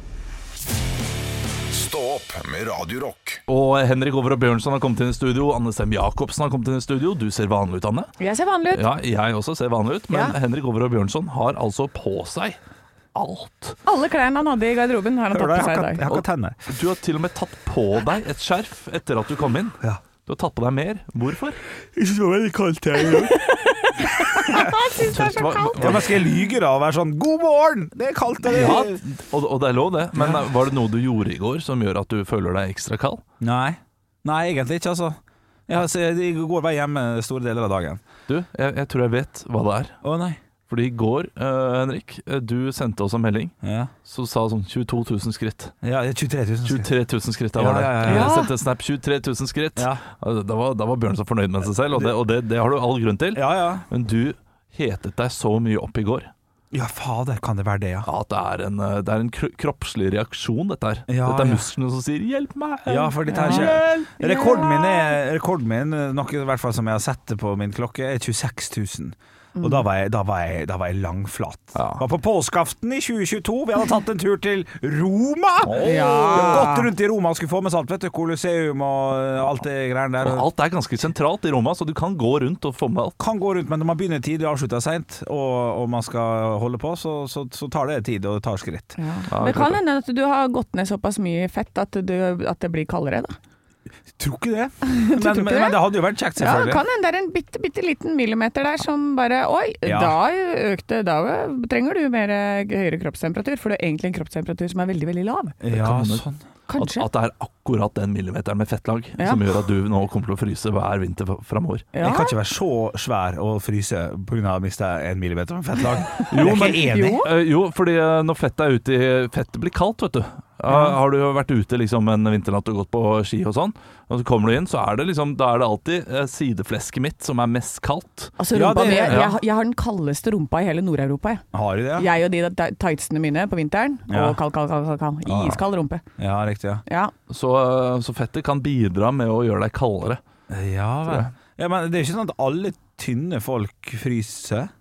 [SPEAKER 1] Stå opp med Radio Rock.
[SPEAKER 2] Og Henrik Over og Bjørnson har kommet inn i studio. Anne Sem Jacobsen har kommet inn i studio. Du ser vanlig ut, Anne.
[SPEAKER 3] Jeg ser vanlig ut.
[SPEAKER 2] Ja, jeg også ser vanlig ut, men
[SPEAKER 3] Ja.
[SPEAKER 2] Henrik Over og Bjørnson har altså på seg alt.
[SPEAKER 3] Alle klærne han hadde i garderoben, har han tatt
[SPEAKER 4] Hør da,
[SPEAKER 3] på
[SPEAKER 4] jeg
[SPEAKER 3] seg
[SPEAKER 4] har
[SPEAKER 3] i
[SPEAKER 4] ikke- jeg
[SPEAKER 3] dag.
[SPEAKER 4] har ikke tenner.
[SPEAKER 2] Du har til og med tatt på deg et skjerf etter at du kom inn.
[SPEAKER 4] Ja.
[SPEAKER 2] Du har tatt på deg mer. Hvorfor?
[SPEAKER 4] Jeg synes det var veldig kaldt her i dag.
[SPEAKER 2] Tørst var-
[SPEAKER 4] Ja, men skal jeg lyge da og være sånn 'god morgen', det er kaldt og det
[SPEAKER 2] Ja, og, og det er lov, det. Men var det noe du gjorde i går som gjør at du føler deg ekstra kald?
[SPEAKER 4] Nei. Nei, egentlig ikke, altså. Jeg, har- jeg går bare hjemme store deler av dagen.
[SPEAKER 2] Du, jeg, jeg tror jeg vet hva det er.
[SPEAKER 4] Å nei.
[SPEAKER 2] Fordi i går, eh, Henrik, eh, du sendte oss en melding
[SPEAKER 4] Ja.
[SPEAKER 2] som sa sånn 22 000 skritt.
[SPEAKER 4] ja 23 000. skal jeg-
[SPEAKER 2] 23 000 skritt, da
[SPEAKER 4] Ja,
[SPEAKER 2] var det.
[SPEAKER 4] ja, ja, ja.
[SPEAKER 2] Jeg sendte en snap 23 000 skritt.
[SPEAKER 4] Ja.
[SPEAKER 2] Altså, Da var, da var Bjørn så fornøyd med seg selv, og, det, og det, det har du all grunn til.
[SPEAKER 4] ja, ja.
[SPEAKER 2] Men du hetet deg så mye opp i går
[SPEAKER 4] Ja, fader, kan det være det, ja.
[SPEAKER 2] at det er en, eh, det er en kro- kroppslig reaksjon, dette her.
[SPEAKER 4] Ja,
[SPEAKER 2] dette er
[SPEAKER 4] ja.
[SPEAKER 2] musklene som sier 'hjelp meg'.
[SPEAKER 4] Ja, for dette her skjer. Rekorden min, er, rekorden min noe i hvert fall som jeg har sett det på min klokke, er 26 000. Og
[SPEAKER 3] Mm.
[SPEAKER 4] da var jeg, da var jeg, da var jeg langflat.
[SPEAKER 2] Ja.
[SPEAKER 4] Var på påskeaften i 2022. Vi hadde tatt en tur til Roma! Gått rundt i Roma og skulle få med salt. Vet du, Colosseum og eh, alt det greiene der.
[SPEAKER 2] Og alt er ganske sentralt i Roma, så du kan gå rundt og få med alt.
[SPEAKER 4] kan gå rundt, men når man begynner tidlig og avslutter seint, og, og man skal holde på, så, så, så tar det tid og det tar skritt.
[SPEAKER 3] Ja.
[SPEAKER 2] Ja,
[SPEAKER 3] Det
[SPEAKER 2] klart
[SPEAKER 3] kan hende at du har gått ned såpass mye fett at, du, at det blir kaldere, da.
[SPEAKER 4] Tror ikke det.
[SPEAKER 3] tror
[SPEAKER 4] Men,
[SPEAKER 3] ikke
[SPEAKER 4] men,
[SPEAKER 3] det?
[SPEAKER 4] men det hadde jo vært
[SPEAKER 3] Ja,
[SPEAKER 4] kjekt,
[SPEAKER 3] det
[SPEAKER 4] selvfølgelig.
[SPEAKER 3] kan hende det er en bitte, bitte liten millimeter der som bare Oi,
[SPEAKER 4] Ja.
[SPEAKER 3] da økte Da trenger du mer eh, høyere kroppstemperatur, for det er egentlig en kroppstemperatur som er veldig, veldig lav.
[SPEAKER 4] ja,
[SPEAKER 2] kan hende.
[SPEAKER 4] sånn.
[SPEAKER 2] At,
[SPEAKER 3] Kanskje.
[SPEAKER 2] at det er akkurat den millimeteren med fettlag
[SPEAKER 3] Ja.
[SPEAKER 2] som gjør at du nå kommer til å fryse hver vinter framover.
[SPEAKER 3] Ja.
[SPEAKER 4] Jeg kan ikke være så svær og fryse pga. å miste en millimeter med fettlag. Jo, jeg er ikke enig.
[SPEAKER 3] Jo.
[SPEAKER 2] Eh, jo, fordi eh, når fettet er ute i Fettet blir kaldt, vet du. Eh, Har du vært ute liksom en vinternatt og gått på ski og sånn, og så kommer du inn, så er det liksom Da er det alltid eh, sideflesket mitt som er mest kaldt.
[SPEAKER 3] Altså
[SPEAKER 4] Ja,
[SPEAKER 3] rumpa
[SPEAKER 4] det-
[SPEAKER 3] mi
[SPEAKER 4] ja.
[SPEAKER 3] jeg, har- jeg har den kaldeste rumpa i hele Nord-Europa. Jeg.
[SPEAKER 4] Har du det? Ja,
[SPEAKER 3] jeg og de da- tightsene mine på vinteren,
[SPEAKER 4] Ja. Ah,
[SPEAKER 3] og kald, kald, kald, kald, kald.
[SPEAKER 4] Ja.
[SPEAKER 3] Iskald rumpe.
[SPEAKER 4] ja riktig. Ja,
[SPEAKER 3] Ja.
[SPEAKER 2] Så, eh, så fettet kan bidra med å gjøre deg kaldere.
[SPEAKER 4] ja vel. Ja, men det er ikke sånn at alle tynne folk fryser.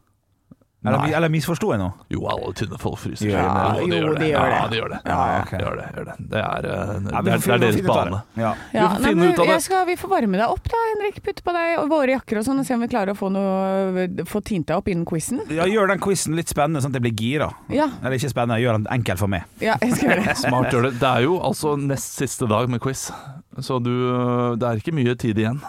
[SPEAKER 4] Eller,
[SPEAKER 2] Nei.
[SPEAKER 4] eller misforsto jeg nå?
[SPEAKER 2] Jo, alle tynne folk fryser.
[SPEAKER 4] Ja,
[SPEAKER 2] de
[SPEAKER 5] jo, de gjør
[SPEAKER 2] Ja,
[SPEAKER 5] det.
[SPEAKER 2] de gjør det.
[SPEAKER 4] Ja, ok.
[SPEAKER 2] De gjør det, gjør det. Det er, eh,
[SPEAKER 4] Ja, vi
[SPEAKER 2] det
[SPEAKER 4] får
[SPEAKER 2] er, det
[SPEAKER 4] finne-
[SPEAKER 2] er deres
[SPEAKER 4] finne ut av det.
[SPEAKER 2] bane.
[SPEAKER 4] Ja.
[SPEAKER 2] Vi får finne
[SPEAKER 3] men
[SPEAKER 2] ut av det.
[SPEAKER 3] jeg skal, vi får varme deg opp da, Henrik. Putte på deg og våre jakker og sånn, og se om vi klarer å få, noe, få tint deg opp innen quizen.
[SPEAKER 4] Ja, gjør den quizen litt spennende, sånn at jeg blir gira.
[SPEAKER 3] Ja,
[SPEAKER 4] Eller ikke spennende, gjør den enkel for meg.
[SPEAKER 3] ja, jeg skal gjøre det.
[SPEAKER 2] Smart gjør det. Det er jo altså nest siste dag med quiz, så du Det er ikke mye tid igjen.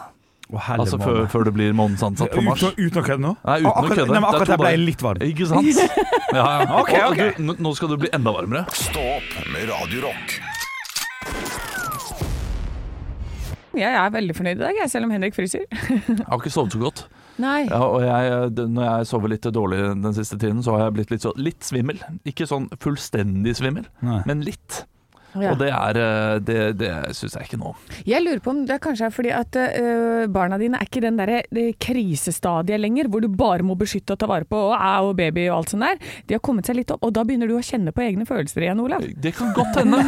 [SPEAKER 4] Å, helle
[SPEAKER 2] Altså før,
[SPEAKER 4] måned.
[SPEAKER 2] før det blir månedens ansatt på Mars.
[SPEAKER 4] Uten, å- uten å kødde nå?
[SPEAKER 2] Nei, uten å
[SPEAKER 4] akkurat,
[SPEAKER 2] kødde.
[SPEAKER 4] Nei, men
[SPEAKER 2] Det er
[SPEAKER 4] akkurat
[SPEAKER 2] to
[SPEAKER 4] jeg ble
[SPEAKER 2] dager.
[SPEAKER 4] litt varm.
[SPEAKER 2] Ikke sant? Ja, ja. Og-
[SPEAKER 4] Ok,
[SPEAKER 2] og
[SPEAKER 4] ok.
[SPEAKER 2] Du, nå- nå skal du bli enda varmere.
[SPEAKER 1] Stå opp med Radio Rock.
[SPEAKER 3] Jeg er veldig fornøyd i dag, jeg, selv om Henrik fryser.
[SPEAKER 2] Jeg har ikke sovet så godt.
[SPEAKER 3] Nei.
[SPEAKER 2] Ja, og jeg, det- når jeg sover litt dårlig den siste tiden, så har jeg blitt litt, så, litt svimmel. Ikke sånn fullstendig svimmel,
[SPEAKER 4] Nei.
[SPEAKER 2] men litt.
[SPEAKER 3] Ja.
[SPEAKER 2] Og det, er, eh, det, det syns jeg ikke nå.
[SPEAKER 3] Jeg lurer på om det kanskje er fordi at øh, barna dine er ikke i den derre det krisestadiet lenger, hvor du bare må beskytte og ta vare på og au og baby og alt sånt der. De har kommet seg litt opp, og da begynner du å kjenne på egne følelser igjen, Olav.
[SPEAKER 2] Det kan godt hende.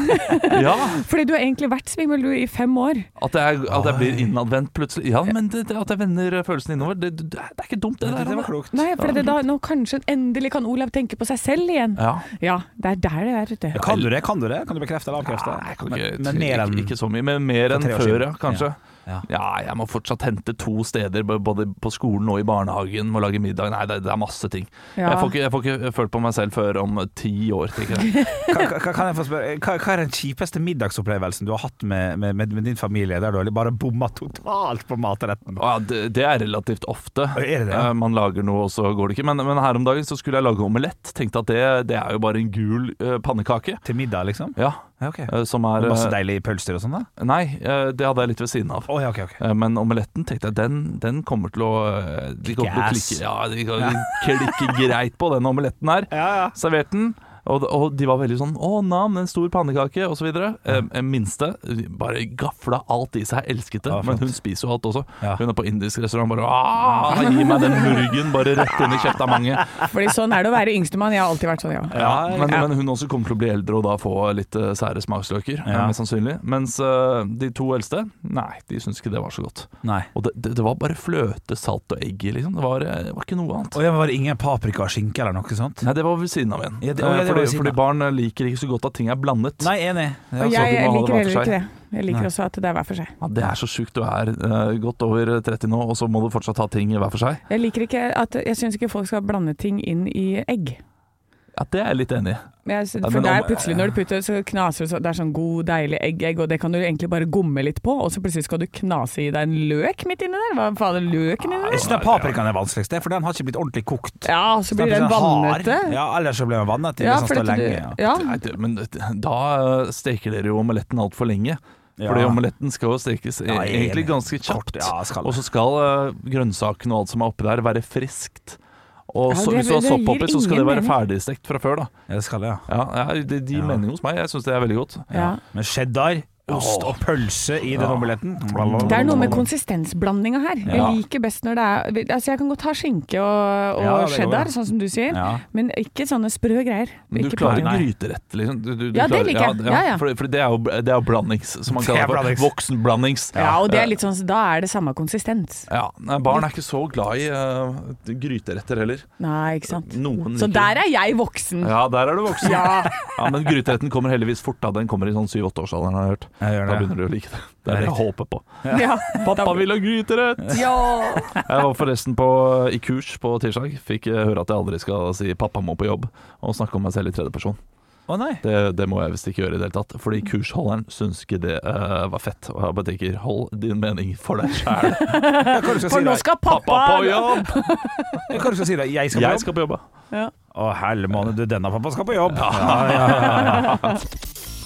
[SPEAKER 2] Ja,
[SPEAKER 3] Fordi du har egentlig vært svimmel du i fem år.
[SPEAKER 2] At jeg, at jeg blir innadvendt plutselig. Ja, men det, det, at jeg vender følelsen innover, det, det, det er ikke dumt, det der.
[SPEAKER 4] Det var
[SPEAKER 2] Anne.
[SPEAKER 4] klokt.
[SPEAKER 3] Nei, for det da, nå kanskje endelig kan Olav tenke på seg selv igjen.
[SPEAKER 2] Ja.
[SPEAKER 3] Ja, det er der det er, vet du.
[SPEAKER 4] Kan du det? Kan du det? Kan du bekrefte eller avkrefte?
[SPEAKER 2] Nei, jeg kan ikke,
[SPEAKER 4] men, men mer enn
[SPEAKER 2] ikke, ikke så mye, men mer enn
[SPEAKER 4] tre år
[SPEAKER 2] før,
[SPEAKER 4] siden.
[SPEAKER 2] ja, kanskje.
[SPEAKER 4] Ja.
[SPEAKER 2] Ja. jeg må fortsatt hente to steder, b- både på skolen og i barnehagen. Må lage middag. Nei, det, det er masse ting.
[SPEAKER 3] Ja.
[SPEAKER 2] Jeg, får ikke, jeg får ikke følt på meg selv før om ti år, tenker jeg.
[SPEAKER 4] Hva, hva, kan jeg få spørre, hva, hva er den kjipeste middagsopplevelsen du har hatt med, med, med, med din familie, der du har bare bomma totalt på matretten?
[SPEAKER 2] Og Ja, det, det er relativt ofte.
[SPEAKER 4] Er det det?
[SPEAKER 2] Eh, Man lager noe, og så går det ikke. Men, men her om dagen så skulle jeg lage omelett. Tenkte at det, det er jo bare en gul eh, pannekake.
[SPEAKER 4] Til middag, liksom?
[SPEAKER 2] Ja,
[SPEAKER 4] Ja, ok.
[SPEAKER 2] eh, som er
[SPEAKER 4] Og masse
[SPEAKER 2] eh,
[SPEAKER 4] deilig pølser og sånn, da?
[SPEAKER 2] Nei, eh, det hadde jeg litt ved siden av.
[SPEAKER 4] Å ja, ok, ok.
[SPEAKER 2] Eh, Men omeletten tenkte jeg, den, den kommer til å eh, De kommer til å
[SPEAKER 4] Kickass.
[SPEAKER 2] klikke, ja, de kommer til å klikke greit på den omeletten her.
[SPEAKER 4] Ja, ja.
[SPEAKER 2] Serverte den, og, og de var veldig sånn 'Å, nam, en stor pannekake', osv. Eh, eh, minste bare gafla alt i seg, elsket det.
[SPEAKER 4] Ja, flott.
[SPEAKER 2] men hun spiser jo alt også.
[SPEAKER 4] Ja.
[SPEAKER 2] Hun er på indisk restaurant, bare «Ah, Gi meg den murgen, bare rett inn i kjeftamanget.
[SPEAKER 3] Fordi sånn er det å være yngstemann. Jeg har alltid vært sånn, ja.
[SPEAKER 2] Ja, men,
[SPEAKER 3] ja.
[SPEAKER 2] men hun også kommer til å bli eldre og da få litt eh, sære smaksløker, eh,
[SPEAKER 4] Ja.
[SPEAKER 2] mest sannsynlig. Mens eh, de to eldste, nei, de syns ikke det var så godt.
[SPEAKER 4] Nei.
[SPEAKER 2] Og det, det, det var bare fløte, salt og egg i, liksom. Det var, det var ikke noe annet.
[SPEAKER 4] Og ja, men var det ingen paprika og skinke eller noe sånt?
[SPEAKER 2] Nei, det var ved siden av igjen.
[SPEAKER 4] Ja, det- å, ja,
[SPEAKER 2] Eh,
[SPEAKER 4] det var ved
[SPEAKER 2] fordi,
[SPEAKER 4] siden
[SPEAKER 2] fordi
[SPEAKER 4] av.
[SPEAKER 2] barn liker ikke så godt at ting er blandet.
[SPEAKER 4] Nei, enig. Ja.
[SPEAKER 3] Og
[SPEAKER 2] så du
[SPEAKER 3] jeg,
[SPEAKER 2] må ha det
[SPEAKER 3] liker
[SPEAKER 2] hver for
[SPEAKER 3] heller ikke det.
[SPEAKER 2] seg.
[SPEAKER 3] Jeg
[SPEAKER 4] Nei.
[SPEAKER 3] liker også at det er hver for seg.
[SPEAKER 2] Ja, det er så sjukt. Du er eh, godt over 30 nå, og så må du fortsatt ha ting hver for seg.
[SPEAKER 3] Jeg liker ikke at Jeg syns ikke folk skal blande ting inn i egg.
[SPEAKER 2] Ja, det er jeg litt enig i.
[SPEAKER 3] Jeg syns-
[SPEAKER 2] Ja,
[SPEAKER 3] for
[SPEAKER 2] men
[SPEAKER 3] der
[SPEAKER 2] om-
[SPEAKER 3] plutselig når du putter så knaser det så Det er sånn god, deilig egg, egg, og det kan du egentlig bare gomme litt på, og så plutselig skal du knase i deg en løk midt inni der. Hva faen er løken inni der?
[SPEAKER 4] Jeg syns paprikaen er vanskeligst, det, for den har ikke blitt ordentlig kokt.
[SPEAKER 3] Ja, og så blir den
[SPEAKER 4] Den er sånn hard.
[SPEAKER 3] vannete.
[SPEAKER 4] Ja, ellers så blir den vannete
[SPEAKER 3] Ja,
[SPEAKER 4] hvis den
[SPEAKER 3] for
[SPEAKER 4] står
[SPEAKER 3] at du-
[SPEAKER 4] lenge. Ja.
[SPEAKER 3] ja.
[SPEAKER 2] Nei, det, men det- da eh, steker dere jo omeletten altfor lenge.
[SPEAKER 4] Ja.
[SPEAKER 2] Fordi omeletten skal jo stekes e-
[SPEAKER 4] Ja, jeg er
[SPEAKER 2] egentlig
[SPEAKER 4] enig.
[SPEAKER 2] ganske kjapt.
[SPEAKER 4] Kort, ja, skal det.
[SPEAKER 2] og så skal eh, grønnsakene og alt som er oppi der, være friskt. Og
[SPEAKER 3] Ja,
[SPEAKER 2] så,
[SPEAKER 3] det-
[SPEAKER 2] hvis du har
[SPEAKER 3] det
[SPEAKER 2] sopp
[SPEAKER 3] gir
[SPEAKER 2] oppi, så skal det
[SPEAKER 3] ingen
[SPEAKER 2] være
[SPEAKER 3] mening.
[SPEAKER 2] ferdigstekt fra før. da
[SPEAKER 4] Ja, det skal det, ja.
[SPEAKER 2] Ja, ja Det gir
[SPEAKER 4] Ja.
[SPEAKER 2] mening hos meg. Jeg syns det er veldig godt.
[SPEAKER 3] Ja.
[SPEAKER 4] Med cheddar, ost og pølse i den omeletten.
[SPEAKER 3] Det er noe med konsistensblandinga her.
[SPEAKER 4] Ja.
[SPEAKER 3] Jeg liker best når det er Altså, jeg kan godt ha skinke og, og
[SPEAKER 4] Ja, det går,
[SPEAKER 3] cheddar,
[SPEAKER 4] ja.
[SPEAKER 3] sånn som du sier,
[SPEAKER 4] Ja.
[SPEAKER 3] men ikke sånne sprø greier.
[SPEAKER 2] Men du
[SPEAKER 3] Ikke
[SPEAKER 2] klarer
[SPEAKER 3] paprika.
[SPEAKER 2] gryterett, liksom. Du, du, du
[SPEAKER 3] Ja, det
[SPEAKER 2] klarer-
[SPEAKER 3] liker jeg. Ja, ja.
[SPEAKER 2] For, for det er jo det er jo blandings, som man
[SPEAKER 4] Det er
[SPEAKER 2] kaller det.
[SPEAKER 4] blandings.
[SPEAKER 2] for. Voksenblandings.
[SPEAKER 3] Ja, og det er litt sånn Da er det samme konsistens.
[SPEAKER 2] Ja, nei, Barn er ikke så glad i eh, gryteretter heller.
[SPEAKER 3] Nei, ikke sant.
[SPEAKER 2] Noen
[SPEAKER 3] Så
[SPEAKER 2] liker-
[SPEAKER 3] der er jeg voksen.
[SPEAKER 2] Ja, der er du voksen.
[SPEAKER 3] Mm. Ja.
[SPEAKER 2] Ja, Men gryteretten kommer heldigvis fort. da Den kommer i sånn 7-8-årsalderen, har jeg hørt.
[SPEAKER 4] Jeg gjør
[SPEAKER 2] Da
[SPEAKER 4] det.
[SPEAKER 2] begynner du å like det. Det er det jeg håper på.
[SPEAKER 3] Ja.
[SPEAKER 2] Pappa vil ha gryterett!
[SPEAKER 3] Ja.
[SPEAKER 2] Jeg var forresten på, i kurs på tirsdag. Fikk eh, høre at jeg aldri skal si 'pappa må på jobb' og snakke om meg selv i tredjeperson.
[SPEAKER 4] Å nei.
[SPEAKER 2] Det, det må jeg visst ikke gjøre i det hele tatt. Fordi kursholderen syns ikke det eh, var fett. Og jeg bare tenker, hold din mening for deg sjæl.
[SPEAKER 4] Ja, Hva du skal
[SPEAKER 3] For
[SPEAKER 4] si da?
[SPEAKER 3] nå skal pappa,
[SPEAKER 2] Pappa på jobb!
[SPEAKER 4] Ja, Hva du skal si da? Jeg skal på
[SPEAKER 2] Jeg
[SPEAKER 4] jobb?
[SPEAKER 2] skal på jobb, ja.
[SPEAKER 4] Å helle måned, du, denne pappa skal på jobb. Ja, ja,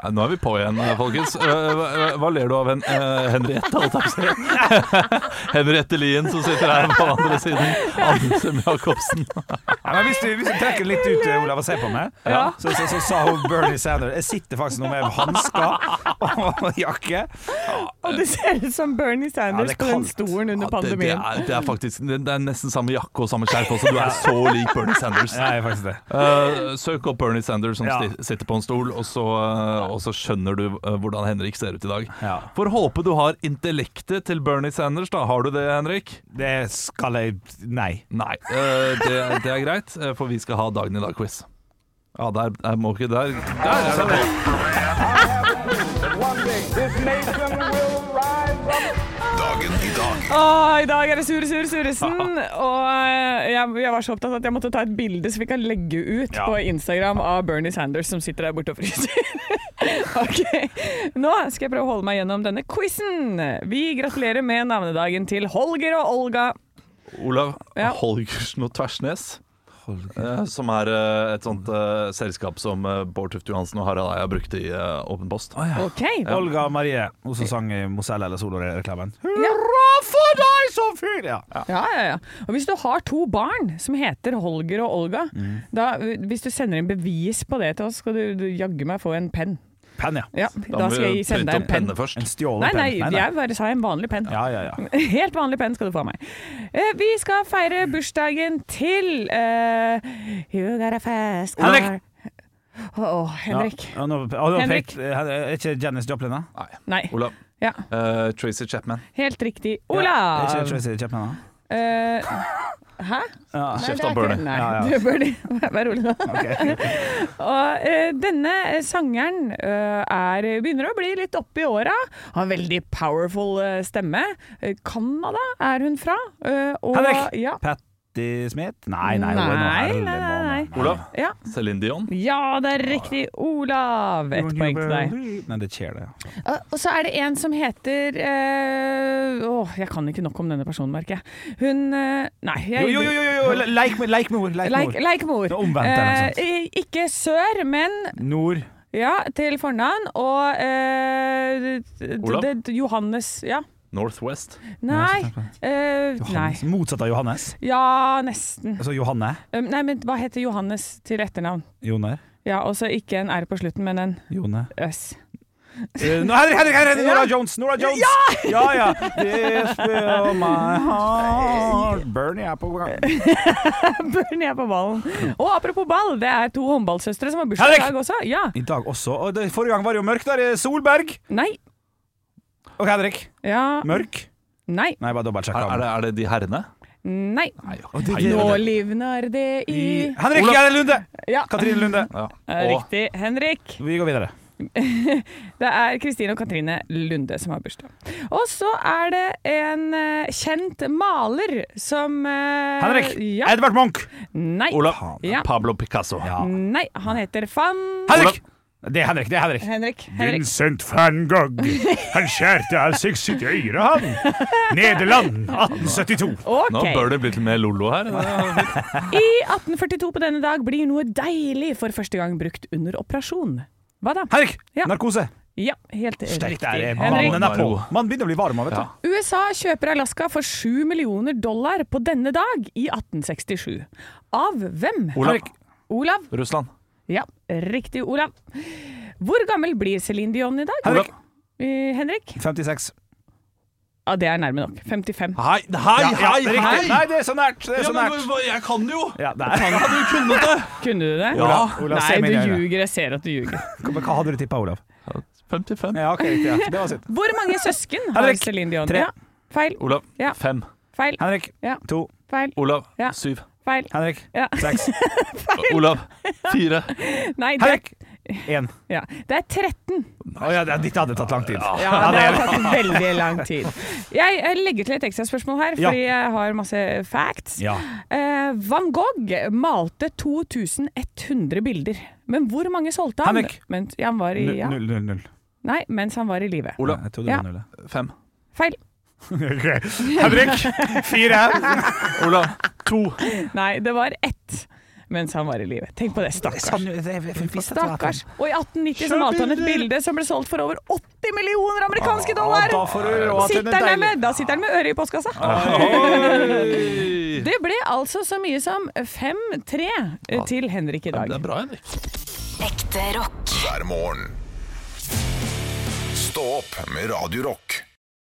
[SPEAKER 2] Nei, nå er vi på igjen, eh, folkens. Eh, hva, hva ler du av, Hen eh, Henriette? holdt jeg på å si? Henriette Lien, som sitter her på andre siden. Anne Sem Jacobsen.
[SPEAKER 4] Ja, men hvis, du, hvis du trekker litt ut, eh, Olav, og ser på meg,
[SPEAKER 2] Ja.
[SPEAKER 4] så, så, så sa hun Bernie Sanders Jeg sitter faktisk nå med hansker og jakke.
[SPEAKER 3] Og du ser ut som Bernie Sanders
[SPEAKER 4] Ja, det er
[SPEAKER 3] på den
[SPEAKER 4] kaldt.
[SPEAKER 3] stolen under
[SPEAKER 2] det, det,
[SPEAKER 3] pandemien.
[SPEAKER 2] er, det er faktisk det det er nesten samme jakke og samme skjerf også. Du er så lik Bernie Sanders.
[SPEAKER 4] Ja, jeg er faktisk det.
[SPEAKER 2] Eh, søk opp Bernie Sanders som
[SPEAKER 4] Ja.
[SPEAKER 2] sti- sitter på en stol, og så, eh, og så skjønner du eh, hvordan Henrik ser ut i dag.
[SPEAKER 4] Ja.
[SPEAKER 2] Får håpe du har intellektet til Bernie Sanders, da. Har du det, Henrik?
[SPEAKER 4] Det skal jeg Nei.
[SPEAKER 2] Nei, eh, det, det er greit, eh, for vi skal ha Dagen i dag-quiz. Ja, der, der må ikke Der, der er det på!
[SPEAKER 1] Dagen i dag.
[SPEAKER 3] Åh, I dag er det Sure Sure Suresen. Og eh, jeg, jeg var så opptatt at jeg måtte ta et bilde som vi kan legge ut
[SPEAKER 4] Ja.
[SPEAKER 3] på Instagram av Bernie Sanders som sitter der borte og fryser. ok, Nå skal jeg prøve å holde meg gjennom denne quizen. Vi gratulerer med navnedagen til Holger og Olga.
[SPEAKER 2] Olav
[SPEAKER 3] Ja.
[SPEAKER 2] Holgersen og Tversnes. eh, Som er eh, et sånt eh, selskap som eh, Bård Tufte Johansen og Harald Eia brukte i eh, Åpen post.
[SPEAKER 3] Ok,
[SPEAKER 4] Olga Marie, hun som sang i Mozell eller Solo-reklamen.
[SPEAKER 3] ja.
[SPEAKER 4] For deg som fyr! Ja.
[SPEAKER 3] Ja, ja, ja. Og hvis du har to barn som heter Holger og Olga,
[SPEAKER 4] Mm.
[SPEAKER 3] da, eh, hvis du sender inn bevis på det til oss, skal du, du jaggu meg få en penn.
[SPEAKER 4] Penn, ja.
[SPEAKER 3] Ja, da,
[SPEAKER 2] må
[SPEAKER 3] skal
[SPEAKER 2] vi
[SPEAKER 3] jeg
[SPEAKER 2] printe
[SPEAKER 3] sende deg en
[SPEAKER 2] opp
[SPEAKER 3] penn.
[SPEAKER 2] penne først.
[SPEAKER 4] En stjålet
[SPEAKER 3] Nei,
[SPEAKER 4] penn.
[SPEAKER 3] nei, jeg bare sa en vanlig penn.
[SPEAKER 4] Ja, ja, ja.
[SPEAKER 3] Helt vanlig penn skal du få av meg. Eh, vi skal feire bursdagen til eh, You got a fast car.
[SPEAKER 4] Henrik!
[SPEAKER 3] Å, å, Henrik.
[SPEAKER 4] Ja, nå, ja, nå
[SPEAKER 3] Henrik.
[SPEAKER 4] pekte- er ikke Janis Joplin, da?
[SPEAKER 2] Nei.
[SPEAKER 3] Nei.
[SPEAKER 2] Olav.
[SPEAKER 3] Ja,
[SPEAKER 2] eh, Tracy Chapman.
[SPEAKER 3] helt riktig.
[SPEAKER 4] Ja, er
[SPEAKER 3] Olav!
[SPEAKER 4] ikke Tracy Chapman, da?
[SPEAKER 3] Eh, hæ?
[SPEAKER 4] Ja.
[SPEAKER 3] Nei,
[SPEAKER 2] Kjeft
[SPEAKER 3] det er
[SPEAKER 2] opp,
[SPEAKER 3] ikke-
[SPEAKER 2] Bernie.
[SPEAKER 3] Nei,
[SPEAKER 4] Ja, ja.
[SPEAKER 3] du, Bernie. Vær rolig nå. Og eh, denne eh, sangeren eh, er, begynner å bli litt oppe i åra. Har veldig powerful eh, stemme. Eh, Canada er hun fra. eh, og,
[SPEAKER 4] Henrik!
[SPEAKER 3] Ja.
[SPEAKER 4] Patti Smith? Nei, nei, hun er noe
[SPEAKER 3] Nei,
[SPEAKER 4] herre,
[SPEAKER 3] nei, nei,
[SPEAKER 4] måne.
[SPEAKER 2] Olav.
[SPEAKER 3] ja.
[SPEAKER 2] Celine Dion.
[SPEAKER 3] Ja, det er riktig, Olav. Ett poeng til deg.
[SPEAKER 4] Nei, det skjer det. ja.
[SPEAKER 3] Og så er det en som heter eh, Åh, jeg kan ikke nok om denne personen, merker jeg. Hun eh, Nei.
[SPEAKER 4] Jo,
[SPEAKER 3] Jeg,
[SPEAKER 4] jo, jo, jo, jo. Leik med leik med ord. Leik med
[SPEAKER 3] Leik,
[SPEAKER 4] ord.
[SPEAKER 3] Leikmor.
[SPEAKER 4] Det er omvendt, eller noe sånt.
[SPEAKER 3] Eh, i- ikke sør, men
[SPEAKER 4] Nord.
[SPEAKER 3] ja, til fornavn. Og eh, d-
[SPEAKER 2] Olav?
[SPEAKER 3] d- d- Johannes. Ja.
[SPEAKER 2] Northwest.
[SPEAKER 3] Nei. eh, nei.
[SPEAKER 4] Johannes. Motsatt av Johannes.
[SPEAKER 3] Ja, nesten.
[SPEAKER 4] Altså Johanne.
[SPEAKER 3] Um, nei, men hva heter Johannes til etternavn?
[SPEAKER 4] Joner.
[SPEAKER 3] Ja, også ikke en R på slutten, men en
[SPEAKER 4] Jone.
[SPEAKER 3] Øs.
[SPEAKER 4] Eh, nå- Henrik, Henrik, Henrik! Nora Jones! Nora Jones! Ja! ja, This will my heart Bernie er på gang.
[SPEAKER 3] Børn er på ballen. Og apropos ball, det er to håndballsøstre som har bursdag i
[SPEAKER 4] Henrik!
[SPEAKER 3] dag også. Ja.
[SPEAKER 4] I dag også. Og det, forrige gang var det jo mørkt der. i Solberg.
[SPEAKER 3] Nei.
[SPEAKER 4] OK, Henrik.
[SPEAKER 3] Ja.
[SPEAKER 4] Mørk?
[SPEAKER 3] Nei.
[SPEAKER 4] Nei, bare dobbeltsjekk.
[SPEAKER 2] Er, er, det, er det de herrene?
[SPEAKER 3] Nei.
[SPEAKER 2] Nei.
[SPEAKER 3] Nå livner det i
[SPEAKER 4] Henrik
[SPEAKER 2] Olav.
[SPEAKER 4] Gjerde Lunde!
[SPEAKER 3] Ja,
[SPEAKER 4] Katrine Lunde.
[SPEAKER 2] Ja.
[SPEAKER 3] eh,
[SPEAKER 2] Og
[SPEAKER 3] riktig. Henrik.
[SPEAKER 4] Vi går videre.
[SPEAKER 3] Det er Kristine og Katrine Lunde som har bursdag. Og så er det en eh, kjent maler som eh,
[SPEAKER 4] Henrik!
[SPEAKER 3] Ja.
[SPEAKER 4] Edvard Munch!
[SPEAKER 3] Nei.
[SPEAKER 2] Olav.
[SPEAKER 3] Ja.
[SPEAKER 2] Pablo Picasso.
[SPEAKER 3] Nei. Han heter Van
[SPEAKER 4] Henrik! Det er Henrik. det er Henrik
[SPEAKER 3] Henrik. Henrik.
[SPEAKER 4] Vincent van Gogh. Han skjærte av seg sitt øre, han. Nederland, 1872.
[SPEAKER 3] OK.
[SPEAKER 2] Nå bør det bli litt mer Lollo her.
[SPEAKER 3] I 1842 på denne dag blir noe deilig for første gang brukt under operasjon. Hva da?
[SPEAKER 4] Henrik,
[SPEAKER 3] Ja.
[SPEAKER 4] narkose.
[SPEAKER 3] Ja, helt
[SPEAKER 4] Stek,
[SPEAKER 3] riktig.
[SPEAKER 4] der er
[SPEAKER 3] Henrik.
[SPEAKER 4] mannen er på. Man begynner å bli varm av, vet du.
[SPEAKER 3] USA kjøper Alaska for 7 millioner dollar på denne dag i 1867. Av hvem?
[SPEAKER 2] Olav.
[SPEAKER 3] Olav.
[SPEAKER 2] Russland.
[SPEAKER 3] Ja, riktig Olav. Hvor gammel blir Céline Dion i dag?
[SPEAKER 4] Henrik.
[SPEAKER 3] Eh, Henrik?
[SPEAKER 4] 56.
[SPEAKER 3] Ja, det er nærme nok. 55.
[SPEAKER 2] Hei, hei,
[SPEAKER 4] Ja, ja, det er riktig. Nei, det er så nært. Det er
[SPEAKER 2] Ja,
[SPEAKER 4] så
[SPEAKER 2] men,
[SPEAKER 4] nært.
[SPEAKER 2] hva- jeg kan sånn det jo!
[SPEAKER 4] Ja, der.
[SPEAKER 2] Du kunne det!
[SPEAKER 3] Kunne du det?
[SPEAKER 2] Ja.
[SPEAKER 4] Olav, Olav,
[SPEAKER 3] Nei,
[SPEAKER 4] se meg
[SPEAKER 3] du
[SPEAKER 4] i øynene.
[SPEAKER 3] ljuger. Jeg ser at du ljuger.
[SPEAKER 4] Men Hva hadde du tippa, Olav?
[SPEAKER 2] 55.
[SPEAKER 4] Ja, ok, riktig, ja. Det var sitt.
[SPEAKER 3] Hvor mange søsken har
[SPEAKER 4] Henrik.
[SPEAKER 3] Céline Dion?
[SPEAKER 4] Tre.
[SPEAKER 3] Ja, feil,
[SPEAKER 2] Olav.
[SPEAKER 3] Ja.
[SPEAKER 2] 5.
[SPEAKER 3] feil,
[SPEAKER 4] Henrik,
[SPEAKER 3] Ja.
[SPEAKER 4] to.
[SPEAKER 3] feil,
[SPEAKER 2] Olav.
[SPEAKER 3] Ja.
[SPEAKER 2] 7.
[SPEAKER 3] feil.
[SPEAKER 4] Henrik,
[SPEAKER 3] Ja.
[SPEAKER 4] seks.
[SPEAKER 2] Olav. 4.
[SPEAKER 3] Nei, det,
[SPEAKER 4] Henrik, én.
[SPEAKER 3] ja. det er 13.
[SPEAKER 4] Å ja, det- dette hadde tatt lang tid.
[SPEAKER 3] Ja, det har tatt veldig lang tid. Jeg eh, legger til et ekstraspørsmål her,
[SPEAKER 4] Ja.
[SPEAKER 3] fordi jeg har masse facts.
[SPEAKER 4] Ja.
[SPEAKER 3] Eh, Van Gogh malte 2100 bilder, men hvor mange solgte han?
[SPEAKER 4] Henrik.
[SPEAKER 3] Mens, ja, han var i, ja.
[SPEAKER 4] Null, null, null.
[SPEAKER 3] Nei, mens han var i live.
[SPEAKER 2] Olav.
[SPEAKER 4] Jeg trodde
[SPEAKER 3] Ja.
[SPEAKER 4] det var null. ja.
[SPEAKER 2] 5.
[SPEAKER 3] Feil.
[SPEAKER 4] Ok. Henrik, fire.
[SPEAKER 2] Olav. 2.
[SPEAKER 3] Nei, det var ett mens han var i live. Tenk på det,
[SPEAKER 4] sånn-
[SPEAKER 3] stakkars. Stakkars. Og i 1890 så malte han et bilde som ble solgt for over 80 millioner amerikanske dollar!
[SPEAKER 4] Ah, da får du råd til
[SPEAKER 3] Sitter
[SPEAKER 4] det
[SPEAKER 3] han der
[SPEAKER 4] deilige. Ah.
[SPEAKER 3] med, da sitter han med øret i postkassa.
[SPEAKER 2] Oi.
[SPEAKER 3] Det ble altså så mye som 5-3
[SPEAKER 4] Ah.
[SPEAKER 3] til Henrik i dag.
[SPEAKER 2] Det er bra, Henrik.
[SPEAKER 6] Ekte rock.
[SPEAKER 1] hver morgen. Stå opp med Radio Rock.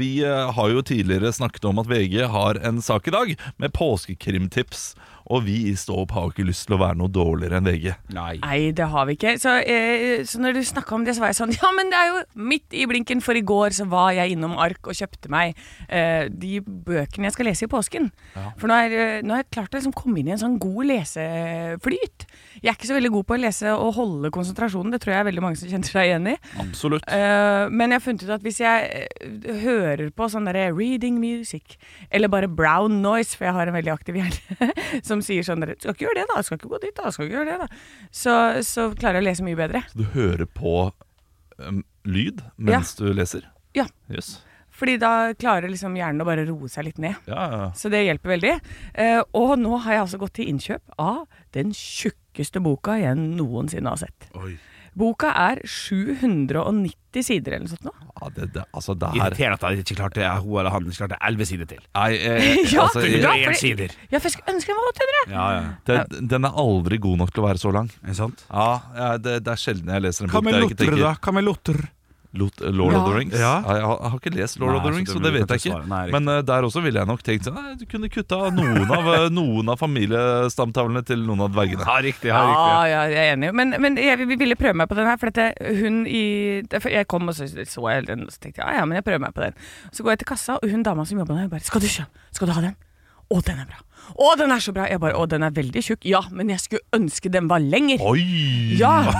[SPEAKER 2] Vi eh, har jo tidligere snakket om at VG har en sak i dag med påskekrimtips. Og vi i Stå opp har jo ikke lyst til å være noe dårligere enn VG.
[SPEAKER 4] Nei.
[SPEAKER 3] Nei, det har vi ikke. Så, eh, så når du snakka om det, så var jeg sånn Ja, men det er jo midt i blinken, for i går så var jeg innom Ark og kjøpte meg eh, de bøkene jeg skal lese i påsken. For nå, er, eh, nå har jeg klart å liksom komme inn i en sånn god leseflyt. Jeg er ikke så veldig god på å lese og holde konsentrasjonen, det tror jeg er veldig mange som kjenner seg igjen i.
[SPEAKER 2] Absolutt.
[SPEAKER 3] Eh, men jeg har funnet ut at hvis jeg eh, hører på sånn derre reading music, eller bare brown noise, for jeg har en veldig aktiv hjerne, som sier sånn derre Skal ikke gjøre det, da. Skal ikke gå dit, da. Skal ikke gjøre det, da. Så, så klarer jeg å lese mye bedre.
[SPEAKER 2] Du hører på em, lyd mens du leser?
[SPEAKER 3] Ja.
[SPEAKER 2] Yes.
[SPEAKER 3] Fordi da klarer liksom hjernen å bare roe seg litt ned.
[SPEAKER 2] Ja, ja.
[SPEAKER 3] Så det hjelper veldig. Eh, og nå har jeg altså gått til innkjøp av den tjukkeste boka jeg noensinne har sett.
[SPEAKER 2] Oi.
[SPEAKER 3] Boka er 790 sider eller noe sånt nå.
[SPEAKER 2] ja det, det, altså, det her
[SPEAKER 4] Irriterende at jeg ikke klarte hun eller han ikke klarte elleve sider til.
[SPEAKER 2] Nei, eh,
[SPEAKER 3] Ja,
[SPEAKER 2] altså,
[SPEAKER 3] det er bra.
[SPEAKER 2] jeg,
[SPEAKER 4] 101
[SPEAKER 3] fordi-
[SPEAKER 4] sider.
[SPEAKER 3] Ja, for jeg skulle ønske den var 800!
[SPEAKER 4] Ja, ja.
[SPEAKER 2] den, den er aldri god nok til å være så lang.
[SPEAKER 4] Er det sant?
[SPEAKER 2] Ja, ja, det, det er sjelden jeg leser en
[SPEAKER 4] Hva
[SPEAKER 2] bok
[SPEAKER 4] med
[SPEAKER 2] der jeg ikke
[SPEAKER 4] Lotter,
[SPEAKER 2] tenker
[SPEAKER 4] da? Hva med Lotter?
[SPEAKER 2] Lot, eh, Lord of the
[SPEAKER 3] Ja.
[SPEAKER 2] Rings?
[SPEAKER 4] Ja.
[SPEAKER 2] jeg, har, jeg har ikke lest Lord
[SPEAKER 4] Nei,
[SPEAKER 2] of the
[SPEAKER 4] så
[SPEAKER 2] Rings,
[SPEAKER 4] det
[SPEAKER 2] så
[SPEAKER 4] blir
[SPEAKER 2] det vet
[SPEAKER 4] ikke
[SPEAKER 2] jeg ikke.
[SPEAKER 4] svaret. Nei, riktig.
[SPEAKER 2] Men eh, der også ville jeg nok tenkt sånn nei, Du kunne kutta av noen av, eh, noen av familiestamtavlene til noen av dvergene.
[SPEAKER 4] Ja, riktig. Ja,
[SPEAKER 3] Ja,
[SPEAKER 4] riktig.
[SPEAKER 3] ja, jeg er enig. Men, men jeg vil- ville prøve meg på den her. For dette, hun i for Jeg kom og så, så jeg den, og så tenkte jeg ja, ja, men jeg prøver meg på den. Så går jeg til kassa, og hun dama som jobba der, hun bare 'Skal du kjøpe? Skal du ha den?' Å, den er bra. Å, den er så bra. Jeg bare Å, den er veldig tjukk. Ja, men jeg skulle ønske den var lenger.
[SPEAKER 2] Oi!
[SPEAKER 3] Ja!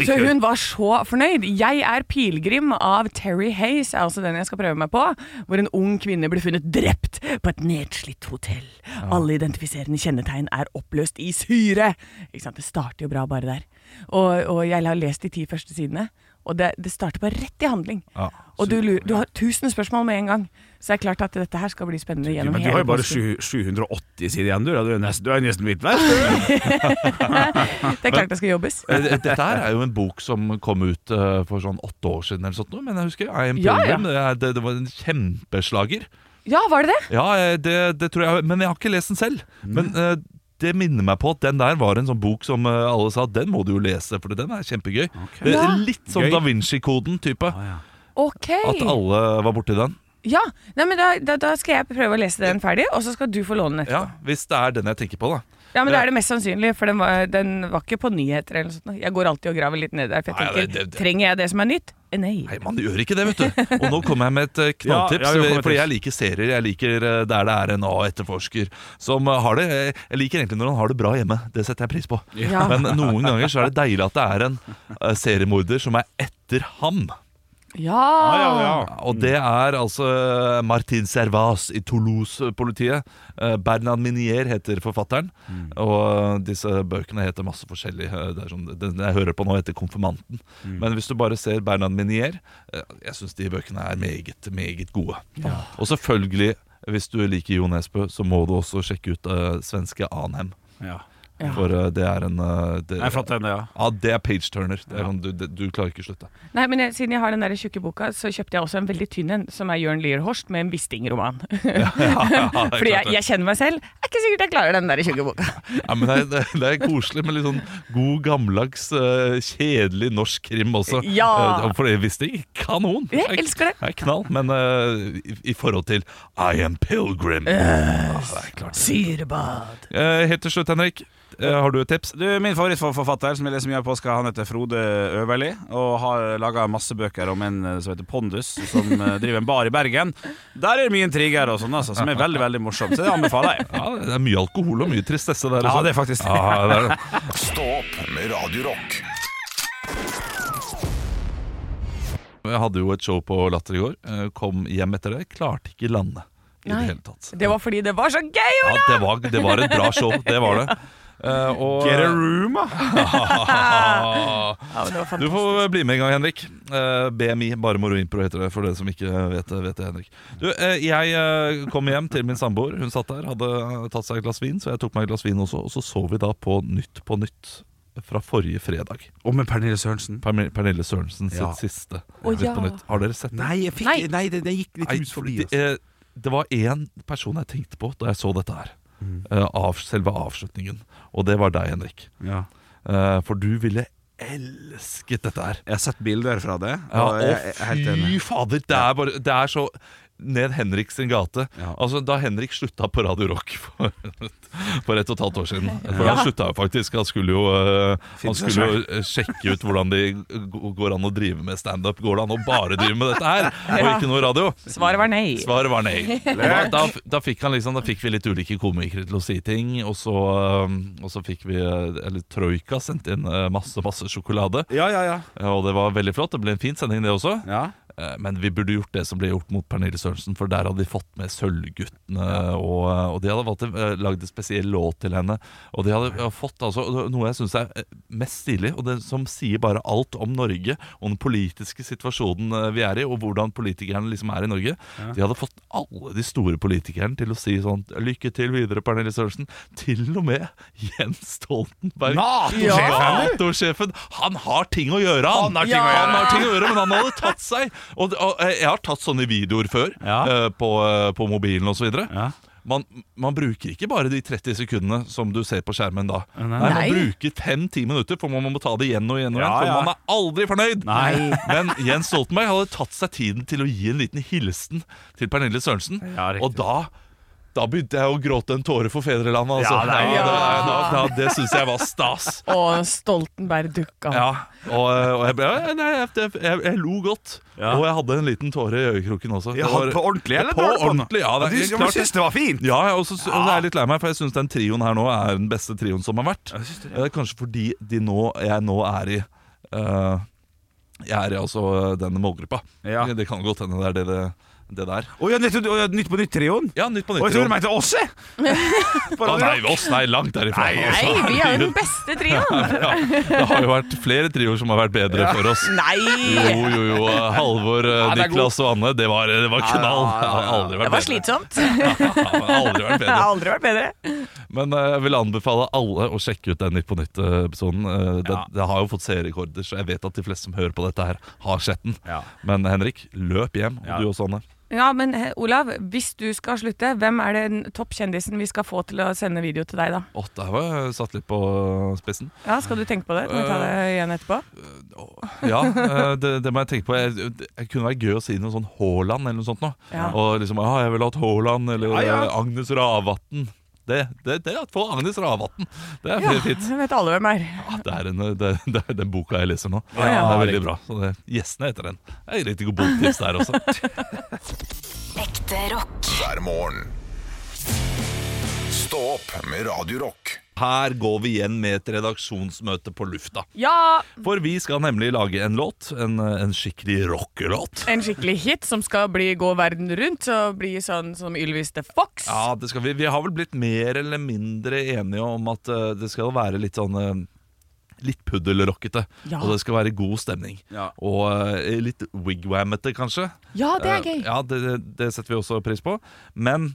[SPEAKER 3] Så hun var så fornøyd. Jeg er pilegrim av Terry Hayes, er altså den jeg skal prøve meg på. Hvor en ung kvinne ble funnet drept på et nedslitt hotell. Alle identifiserende kjennetegn er oppløst i syre. Ikke sant, Det starter jo bra bare der. Og, og jeg har lest de ti første sidene, og det, det starter bare rett i handling.
[SPEAKER 2] Ja,
[SPEAKER 3] og du, lurer, du har tusen spørsmål med en gang, så det er klart at dette her skal bli spennende gjennom
[SPEAKER 4] Men du
[SPEAKER 3] hele
[SPEAKER 4] har jo bare
[SPEAKER 3] påsken.
[SPEAKER 4] sju- 780 sider igjen, du. da. Du er nesten, du er nesten mitt verst.
[SPEAKER 3] Det er klart det skal jobbes.
[SPEAKER 2] Eh, Dette her er jo en bok som kom ut eh, for sånn åtte år siden, eller sånt, noe, men jeg husker I Am
[SPEAKER 3] Ja, ja.
[SPEAKER 2] Pilgrim. Det er- Det, det var en kjempeslager.
[SPEAKER 3] Ja, var det det?
[SPEAKER 2] Ja, eh, det, det tror jeg Men jeg har ikke lest den selv.
[SPEAKER 3] Mm.
[SPEAKER 2] Men eh, det minner meg på at den der var en sånn bok som eh, alle sa den må du jo lese, for den er kjempegøy. Det
[SPEAKER 3] Ja.
[SPEAKER 2] er litt sånn
[SPEAKER 4] Gøy.
[SPEAKER 2] Da Vinci-koden-type.
[SPEAKER 4] eh,
[SPEAKER 3] Ok.
[SPEAKER 2] At alle var borti den.
[SPEAKER 3] Ja, Nei, men da, da, da skal jeg prøve å lese den ferdig, og så skal du få låne den etterpå.
[SPEAKER 2] Ja, Hvis det er den jeg tenker på, da.
[SPEAKER 3] Ja, men da er det mest sannsynlig, for den var, den var ikke på nyheter eller noe sånt. Jeg går alltid og graver litt ned der, for jeg
[SPEAKER 2] Nei,
[SPEAKER 3] tenker,
[SPEAKER 2] det- det- det-
[SPEAKER 3] trenger jeg det som er nytt? Eh, Nei.
[SPEAKER 2] Nei, man gjør ikke det, vet du. Og nå kommer jeg med et eh, knalltips.
[SPEAKER 4] Ja, ja, jo, kom med
[SPEAKER 2] fordi
[SPEAKER 4] tips.
[SPEAKER 2] jeg liker serier. Jeg liker eh, der det er en A-etterforsker som eh, har det Jeg liker egentlig når han har det bra hjemme. Det setter jeg pris på.
[SPEAKER 3] Ja.
[SPEAKER 2] Men noen ganger så er det deilig at det er en eh, seriemorder som er etter ham.
[SPEAKER 3] Ja.
[SPEAKER 4] Ja, ja, ja.
[SPEAKER 2] Og det er altså Martin Servas i Toulouse-politiet. Eh, Bernard Minier heter forfatteren. Og eh, disse bøkene heter masse forskjellig. Eh, Det er sånn, den jeg hører på nå, heter 'Konfirmanten'. Men hvis du bare ser Bernard Minier eh, Jeg syns de bøkene er meget, meget gode. Og selvfølgelig, hvis du liker Jo Nesbø, så må du også sjekke ut eh, svenske Anhem.
[SPEAKER 4] Ja.
[SPEAKER 3] Ja.
[SPEAKER 2] For eh, det er en eh, det,
[SPEAKER 4] Det er flott, den, ja.
[SPEAKER 2] Ja, det er page turner. Det er, sånn, du, du, du klarer ikke å slutte.
[SPEAKER 3] Nei, men jeg, siden jeg har den der tjukke boka, så kjøpte jeg også en veldig tynn en, som er Jørn Lier Horst med en Wisting-roman. Fordi jeg, jeg kjenner meg selv. Det er ikke sikkert jeg klarer den der tjukke boka.
[SPEAKER 2] Ja, men det, er- det, er- det er koselig med litt sånn god, gammeldags, eh, kjedelig norsk krim også.
[SPEAKER 3] Ja.
[SPEAKER 2] Eh, for det visste jeg ikke. Kanon!
[SPEAKER 3] Jeg elsker det.
[SPEAKER 2] Det er knall, men eh, i, i forhold til I am Pilgrim.
[SPEAKER 3] Eh,
[SPEAKER 2] Ja, det er klart.
[SPEAKER 3] Syrebad.
[SPEAKER 2] Eh, helt til slutt, Henrik. eh, har du et tips?
[SPEAKER 4] Du, Min favorittforfatter som jeg leser mye av i påska, han heter Frode Øverli. Og har laga masse bøker om en eh, som heter Pondus, som eh, driver en bar i Bergen. Der er det mye intriger og sånn, altså, som er veldig veldig morsomt. Så det anbefaler jeg.
[SPEAKER 2] Ja, det er mye alkohol og mye tristesse der.
[SPEAKER 4] Ja,
[SPEAKER 2] også.
[SPEAKER 4] det er faktisk det.
[SPEAKER 2] Ja, det er det.
[SPEAKER 1] Stå opp med Radio Rock.
[SPEAKER 2] Jeg hadde jo et show på Latter i går. eh, Kom hjem etter det. Klarte ikke lande i
[SPEAKER 3] Nei.
[SPEAKER 2] det hele tatt.
[SPEAKER 3] Det var fordi det var så gøy, Ola!
[SPEAKER 2] Ja, det var, det var et bra show, det var det. Eh, ah, og,
[SPEAKER 4] Get a room, da!
[SPEAKER 3] Ja, men det var
[SPEAKER 2] Du
[SPEAKER 3] fantastisk.
[SPEAKER 2] får bli med en gang, Henrik. Eh, BMI, bare moro impro, heter det. For dere som ikke vet det, vet det, Henrik. Du, eh, jeg eh, kom hjem til min samboer. Hun satt der, hadde eh, tatt seg et glass vin, så jeg tok meg et glass vin også. Og så så vi da på Nytt på Nytt fra forrige fredag.
[SPEAKER 4] Og med Pernille Sørensen.
[SPEAKER 2] Perne- Pernille Sørensen sitt
[SPEAKER 4] Ja.
[SPEAKER 2] siste
[SPEAKER 3] Å,
[SPEAKER 2] Nytt
[SPEAKER 3] ja.
[SPEAKER 2] på Nytt. Har dere sett det?
[SPEAKER 4] Nei, jeg fikk,
[SPEAKER 3] Nei.
[SPEAKER 4] nei det, det gikk litt hus forbi.
[SPEAKER 2] det,
[SPEAKER 4] Altså.
[SPEAKER 2] eh, det var én person jeg tenkte på da jeg så dette her.
[SPEAKER 4] Mm.
[SPEAKER 2] Eh, av selve avslutningen. Og det var deg, Henrik.
[SPEAKER 4] Ja.
[SPEAKER 2] Eh, for du ville elsket dette her.
[SPEAKER 4] Jeg har sett bilder fra det.
[SPEAKER 2] Ja,
[SPEAKER 4] og jeg, jeg er
[SPEAKER 2] og
[SPEAKER 4] helt enig.
[SPEAKER 2] fy fader, det er, bare, det er så ned Henrik sin gate.
[SPEAKER 4] Ja.
[SPEAKER 2] Altså, da Henrik slutta på Radio Rock for, for et og et halvt år siden For han slutta jo faktisk. Han skulle jo, øh, han
[SPEAKER 4] Finne seg
[SPEAKER 2] skulle jo øh, sjekke ut hvordan det g- går an å drive med standup. Går det an å bare drive med dette her, og ikke noe radio?
[SPEAKER 3] Svaret var nei.
[SPEAKER 2] Svaret var nei. Da, da, da, fikk han liksom, da fikk vi litt ulike komikere til å si ting, og så, øh, og så fikk vi øh, Eller Troika sendte inn øh, masse, masse sjokolade.
[SPEAKER 4] Ja, ja, ja.
[SPEAKER 2] Og det var veldig flott. Det ble en fin sending, det også.
[SPEAKER 4] ja.
[SPEAKER 2] Eh, Men vi burde gjort det som ble gjort mot Pernille Sørensen, for der hadde de fått med Sølvguttene. Og, og de hadde valgt, eh, lagd en spesiell låt til henne. Og de hadde eh, fått altså, noe jeg syns er eh, mest stilig, og det som sier bare alt om Norge og den politiske situasjonen eh, vi er i, og hvordan politikerne liksom er i Norge. De hadde fått alle de store politikerne til å si sånn Lykke til videre, Pernille Sørensen. Til og med Jens Stoltenberg.
[SPEAKER 4] NATO-sjefen, eller?
[SPEAKER 2] NATO-sjefen. Han har ting å gjøre, han!
[SPEAKER 4] Han har ting å gjøre.
[SPEAKER 2] Han har ting å gjøre, men han hadde tatt seg. Og, og eh, jeg har tatt sånne videoer før,
[SPEAKER 4] Ja.
[SPEAKER 2] eh, på, eh, på mobilen osv.
[SPEAKER 4] Ja.
[SPEAKER 2] Man, man bruker ikke bare de 30 sekundene som du ser på skjermen da. Nei,
[SPEAKER 3] Nei.
[SPEAKER 2] Man bruker 5-10 minutter, for man må ta det igjen og igjen. og igjen
[SPEAKER 4] Ja,
[SPEAKER 2] For
[SPEAKER 4] ja.
[SPEAKER 2] man er aldri fornøyd!
[SPEAKER 4] Nei.
[SPEAKER 2] Men Jens Stoltenberg hadde tatt seg tiden til å gi en liten hilsen til Pernille Sørensen.
[SPEAKER 4] Ja, riktig.
[SPEAKER 2] og da da begynte jeg å gråte en tåre for fedrelandet. Altså.
[SPEAKER 4] Ja, nei.
[SPEAKER 2] det, da, da, det syns jeg var stas.
[SPEAKER 3] Og Stoltenberg dukka
[SPEAKER 2] Ja, og, og jeg, ble, ja, nei, jeg, jeg, jeg, jeg lo godt.
[SPEAKER 4] Ja.
[SPEAKER 2] Og jeg hadde en liten tåre i øyekroken også.
[SPEAKER 4] Ja,
[SPEAKER 2] Det var-
[SPEAKER 4] på ordentlig, eller?
[SPEAKER 2] På
[SPEAKER 4] dårlig den?
[SPEAKER 2] ordentlig, ja. Det er
[SPEAKER 4] du
[SPEAKER 2] helt
[SPEAKER 4] du
[SPEAKER 2] klart.
[SPEAKER 4] syns det var fint?
[SPEAKER 2] Ja, jeg, og så- og så er jeg litt lei meg, for jeg syns den trioen her nå er den beste trioen som har vært. Eh, Kanskje fordi de nå, jeg nå er i eh, Jeg er i altså den målgruppa.
[SPEAKER 4] Ja.
[SPEAKER 2] Det kan godt hende det er det det, det der.
[SPEAKER 4] Å ja, nytt, å ja, nytt på nytt-trioen?
[SPEAKER 2] Ja, Nytt på
[SPEAKER 4] Og jeg tror du
[SPEAKER 2] nytt.
[SPEAKER 4] mente oss, jeg! På
[SPEAKER 2] Å
[SPEAKER 4] Radio
[SPEAKER 2] nei,
[SPEAKER 4] Rock.
[SPEAKER 2] oss, nei, langt derifra.
[SPEAKER 4] Nei,
[SPEAKER 2] altså.
[SPEAKER 3] Nei, vi er jo den beste trioen!
[SPEAKER 2] ja, det har jo vært flere trioer som har vært bedre for oss.
[SPEAKER 3] Nei!
[SPEAKER 2] Jo, jo, jo. Halvor, eh,
[SPEAKER 7] det er
[SPEAKER 2] Niklas og Anne. Det var, det var knall. Det har aldri vært
[SPEAKER 3] Det var
[SPEAKER 2] bedre.
[SPEAKER 3] slitsomt.
[SPEAKER 2] Det har aldri vært
[SPEAKER 3] Det
[SPEAKER 2] bedre.
[SPEAKER 3] har aldri vært bedre.
[SPEAKER 2] Men eh, jeg vil anbefale alle å sjekke ut den Nytt på nytt-episoden. det, det har jo fått seerrekorder, så jeg vet at de fleste som hører på dette, her har sett den.
[SPEAKER 4] Ja.
[SPEAKER 2] Men Henrik, løp hjem. Og
[SPEAKER 4] Ja.
[SPEAKER 2] du også, Anne.
[SPEAKER 3] Ja, men eh, Olav, hvis du skal slutte, hvem er den toppkjendisen vi skal få til å sende video til deg, da?
[SPEAKER 2] Å, der var jeg satt litt på spissen.
[SPEAKER 3] Ja, Skal du tenke på det? Kan vi ta det igjen etterpå?
[SPEAKER 2] Ja, eh, det, det må jeg tenke på. Jeg, det kunne vært gøy å si noe sånn Haaland eller noe sånt nå.
[SPEAKER 3] Ja.
[SPEAKER 2] Og liksom Ja, jeg ville hatt Haaland eller
[SPEAKER 4] Ja, ja.
[SPEAKER 2] eh, Agnes Ravatn. Det, det, det at Få Agnes Ravatn! Det er
[SPEAKER 3] Ja,
[SPEAKER 2] fint.
[SPEAKER 3] så vet alle hvem er.
[SPEAKER 2] Ja, det, er en, det, det er den boka jeg leser nå.
[SPEAKER 3] ja.
[SPEAKER 2] Den er veldig bra. Så det, Gjestene heter den. Det er riktig god boktips der også.
[SPEAKER 6] Ekte rock.
[SPEAKER 1] hver morgen. Stå opp med Radio Rock.
[SPEAKER 2] Her går vi igjen med et redaksjonsmøte på lufta.
[SPEAKER 3] Ja!
[SPEAKER 2] For vi skal nemlig lage en låt. En, en skikkelig rockelåt.
[SPEAKER 3] En skikkelig hit som skal bli, gå verden rundt og bli sånn som Ylvis the Fox.
[SPEAKER 2] Ja, det skal vi. vi har vel blitt mer eller mindre enige om at eh, det skal være litt sånn eh, Litt puddelrockete,
[SPEAKER 3] Ja.
[SPEAKER 2] og det skal være god stemning.
[SPEAKER 4] Ja.
[SPEAKER 2] Og eh, litt wigwamete, kanskje.
[SPEAKER 3] Ja, det er
[SPEAKER 2] Eh,
[SPEAKER 3] gøy.
[SPEAKER 2] Ja, det, det- det setter vi også pris på. Men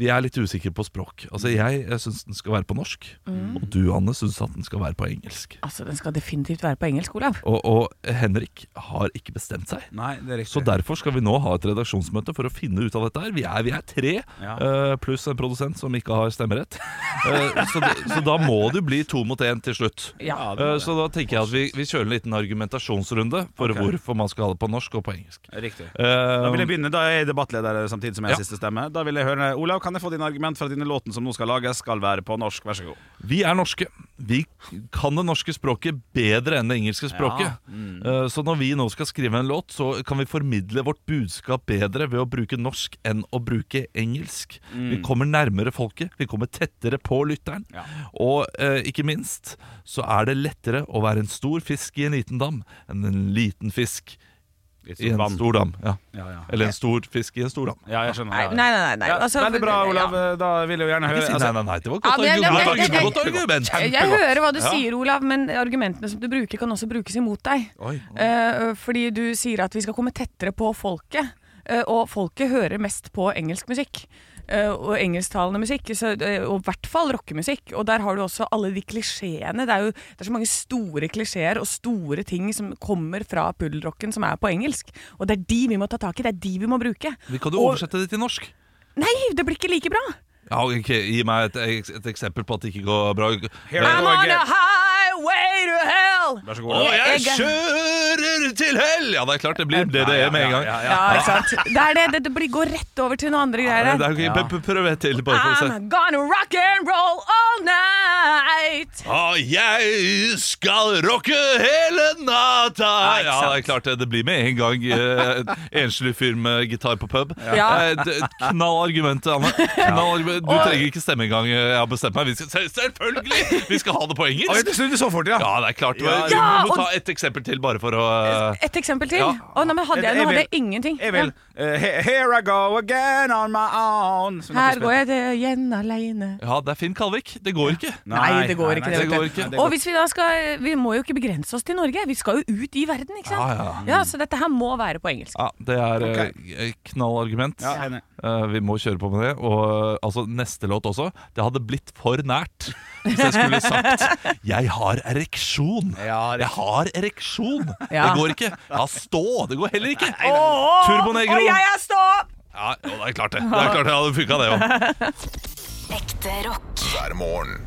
[SPEAKER 2] vi er litt usikre på språk. Altså, Jeg, jeg syns den skal være på norsk,
[SPEAKER 3] Mm.
[SPEAKER 2] og du, Anne, syns at den skal være på engelsk.
[SPEAKER 3] Altså, Den skal definitivt være på engelsk, Olav.
[SPEAKER 2] Og, og Henrik har ikke bestemt seg.
[SPEAKER 4] Nei, det er riktig.
[SPEAKER 2] Så derfor skal vi nå ha et redaksjonsmøte for å finne ut av dette her. Vi er, vi er tre,
[SPEAKER 4] Ja.
[SPEAKER 2] eh, pluss en produsent som ikke har stemmerett. Eh, så, det- så da må det bli to mot én til slutt.
[SPEAKER 3] Ja.
[SPEAKER 2] Eh, så da tenker jeg at vi, vi kjører en liten argumentasjonsrunde for hvorfor man skal ha det på norsk og på engelsk.
[SPEAKER 4] Riktig.
[SPEAKER 2] Eh,
[SPEAKER 4] Da vil jeg begynne, da er jeg debattleder samtidig som jeg
[SPEAKER 2] Ja.
[SPEAKER 4] er siste stemme. Da vil jeg høre, Olav, kan jeg få dine argument for at denne låten som nå skal lages, skal være på norsk? Vær så god.
[SPEAKER 2] Vi er norske. Vi kan det norske språket bedre enn det engelske språket. Eh, Så når vi nå skal skrive en låt, så kan vi formidle vårt budskap bedre ved å bruke norsk enn å bruke engelsk. Vi kommer nærmere folket, vi kommer tettere på lytteren.
[SPEAKER 4] Ja.
[SPEAKER 2] Og eh, ikke minst så er det lettere å være en stor fisk i en liten dam enn en liten fisk
[SPEAKER 4] I et
[SPEAKER 2] I
[SPEAKER 4] stort
[SPEAKER 2] en
[SPEAKER 4] vann.
[SPEAKER 2] stor dam. Ja.
[SPEAKER 4] Ja, ja.
[SPEAKER 2] Eller en stor fisk i en stor dam.
[SPEAKER 4] ja, jeg skjønner.
[SPEAKER 3] Nei,
[SPEAKER 4] ja.
[SPEAKER 3] nei, nei. nei.
[SPEAKER 4] Ja,
[SPEAKER 3] Altså,
[SPEAKER 4] veldig bra,
[SPEAKER 3] ja.
[SPEAKER 4] Olav. Eh, Da vil jeg jo gjerne
[SPEAKER 2] Ikke
[SPEAKER 4] høre altså,
[SPEAKER 2] si nei, nei, nei. Det var et
[SPEAKER 3] Ja,
[SPEAKER 2] godt
[SPEAKER 3] men-
[SPEAKER 2] argument.
[SPEAKER 3] men-
[SPEAKER 2] Det var et godt
[SPEAKER 3] men-
[SPEAKER 2] argument.
[SPEAKER 3] Jeg hører hva du sier, Olav, men argumentene som du bruker, kan også brukes imot deg.
[SPEAKER 2] Oi.
[SPEAKER 3] Eh, fordi du sier at vi skal komme tettere på folket. eh, og folket hører mest på engelsk musikk. eh, og engelsktalende musikk, så, eh, og i hvert fall rockemusikk. Og der har du også alle de klisjeene. Det er jo det er så mange store klisjeer og store ting som kommer fra puddelrocken som er på engelsk. Og det er de vi må ta tak i, det er de vi må bruke.
[SPEAKER 2] Vi kan jo
[SPEAKER 3] Og-
[SPEAKER 2] oversette det til norsk.
[SPEAKER 3] Nei, det blir ikke like bra!
[SPEAKER 2] Ja, ok, Gi meg et, ek- et eksempel på at det ikke går bra.
[SPEAKER 4] Here
[SPEAKER 2] Eh,
[SPEAKER 4] I
[SPEAKER 3] I'm
[SPEAKER 4] go
[SPEAKER 3] on a
[SPEAKER 4] again.
[SPEAKER 3] highway to hell!
[SPEAKER 4] Vær så god.
[SPEAKER 2] Og
[SPEAKER 4] Olav.
[SPEAKER 2] jeg
[SPEAKER 3] Jeg-
[SPEAKER 2] kjører til hell! Ja, det er klart det blir det det er med en gang.
[SPEAKER 4] Ja, ja, ja.
[SPEAKER 3] Ja, ikke sant? Det er det, det, det blir, går rett over til noen andre greier. her.
[SPEAKER 2] Det er ok, p- p- Prøv et til, bare for å se.
[SPEAKER 3] I'm gonna rock and roll all night.
[SPEAKER 2] Og jeg skal rocke hele natta!
[SPEAKER 4] ikke
[SPEAKER 2] Ja,
[SPEAKER 4] sant.
[SPEAKER 2] det er klart det. Det blir med en gang. eh, En Enslig fyr med gitar på pub.
[SPEAKER 3] Ja.
[SPEAKER 2] Eh, d- Knall argumentet, Anne. Knall argument. Du trenger ikke stemme engang. Jeg har bestemt meg. Vi skal, selv- selvfølgelig! Vi skal ha det på
[SPEAKER 4] Oi,
[SPEAKER 2] engelsk!
[SPEAKER 4] det snudde så fort, ja.
[SPEAKER 2] Ja, det er klart.
[SPEAKER 4] Ja,
[SPEAKER 2] Vi
[SPEAKER 3] ja,
[SPEAKER 2] må
[SPEAKER 3] og-
[SPEAKER 2] ta et eksempel til, bare for å eh,
[SPEAKER 3] Et eksempel til?
[SPEAKER 2] Ja.
[SPEAKER 3] Å, nei, men hadde jeg, nå hadde jeg ingenting.
[SPEAKER 4] Jeg vil. Eh, he- here I go again on my own.
[SPEAKER 3] Ja. Her går jeg det igjen aleine.
[SPEAKER 2] Ja, det er Finn Kalvik. Det går ikke.
[SPEAKER 3] Nei, det går ikke,
[SPEAKER 2] det går ikke.
[SPEAKER 3] Og hvis vi da skal Vi må jo ikke begrense oss til Norge, vi skal jo ut i verden, ikke sant?
[SPEAKER 2] Ja,
[SPEAKER 3] så dette her må være på engelsk.
[SPEAKER 2] Ja, det er eh, knallargument.
[SPEAKER 4] Ja, enig.
[SPEAKER 2] Eh, vi må kjøre på med det. Og eh, altså, neste låt også. Det hadde blitt for nært hvis jeg skulle sagt 'Jeg har ereksjon'.
[SPEAKER 4] Ja, det-
[SPEAKER 2] Jeg har ereksjon!
[SPEAKER 3] Ja.
[SPEAKER 2] Det går ikke. Ja, stå! Det går heller ikke.
[SPEAKER 3] Å,
[SPEAKER 2] Turbonegro.
[SPEAKER 3] Og jeg er stå!
[SPEAKER 2] Ja, jo, det er klart det. Det er klart det hadde funka, det òg.
[SPEAKER 6] Ekte rock.
[SPEAKER 1] hver morgen.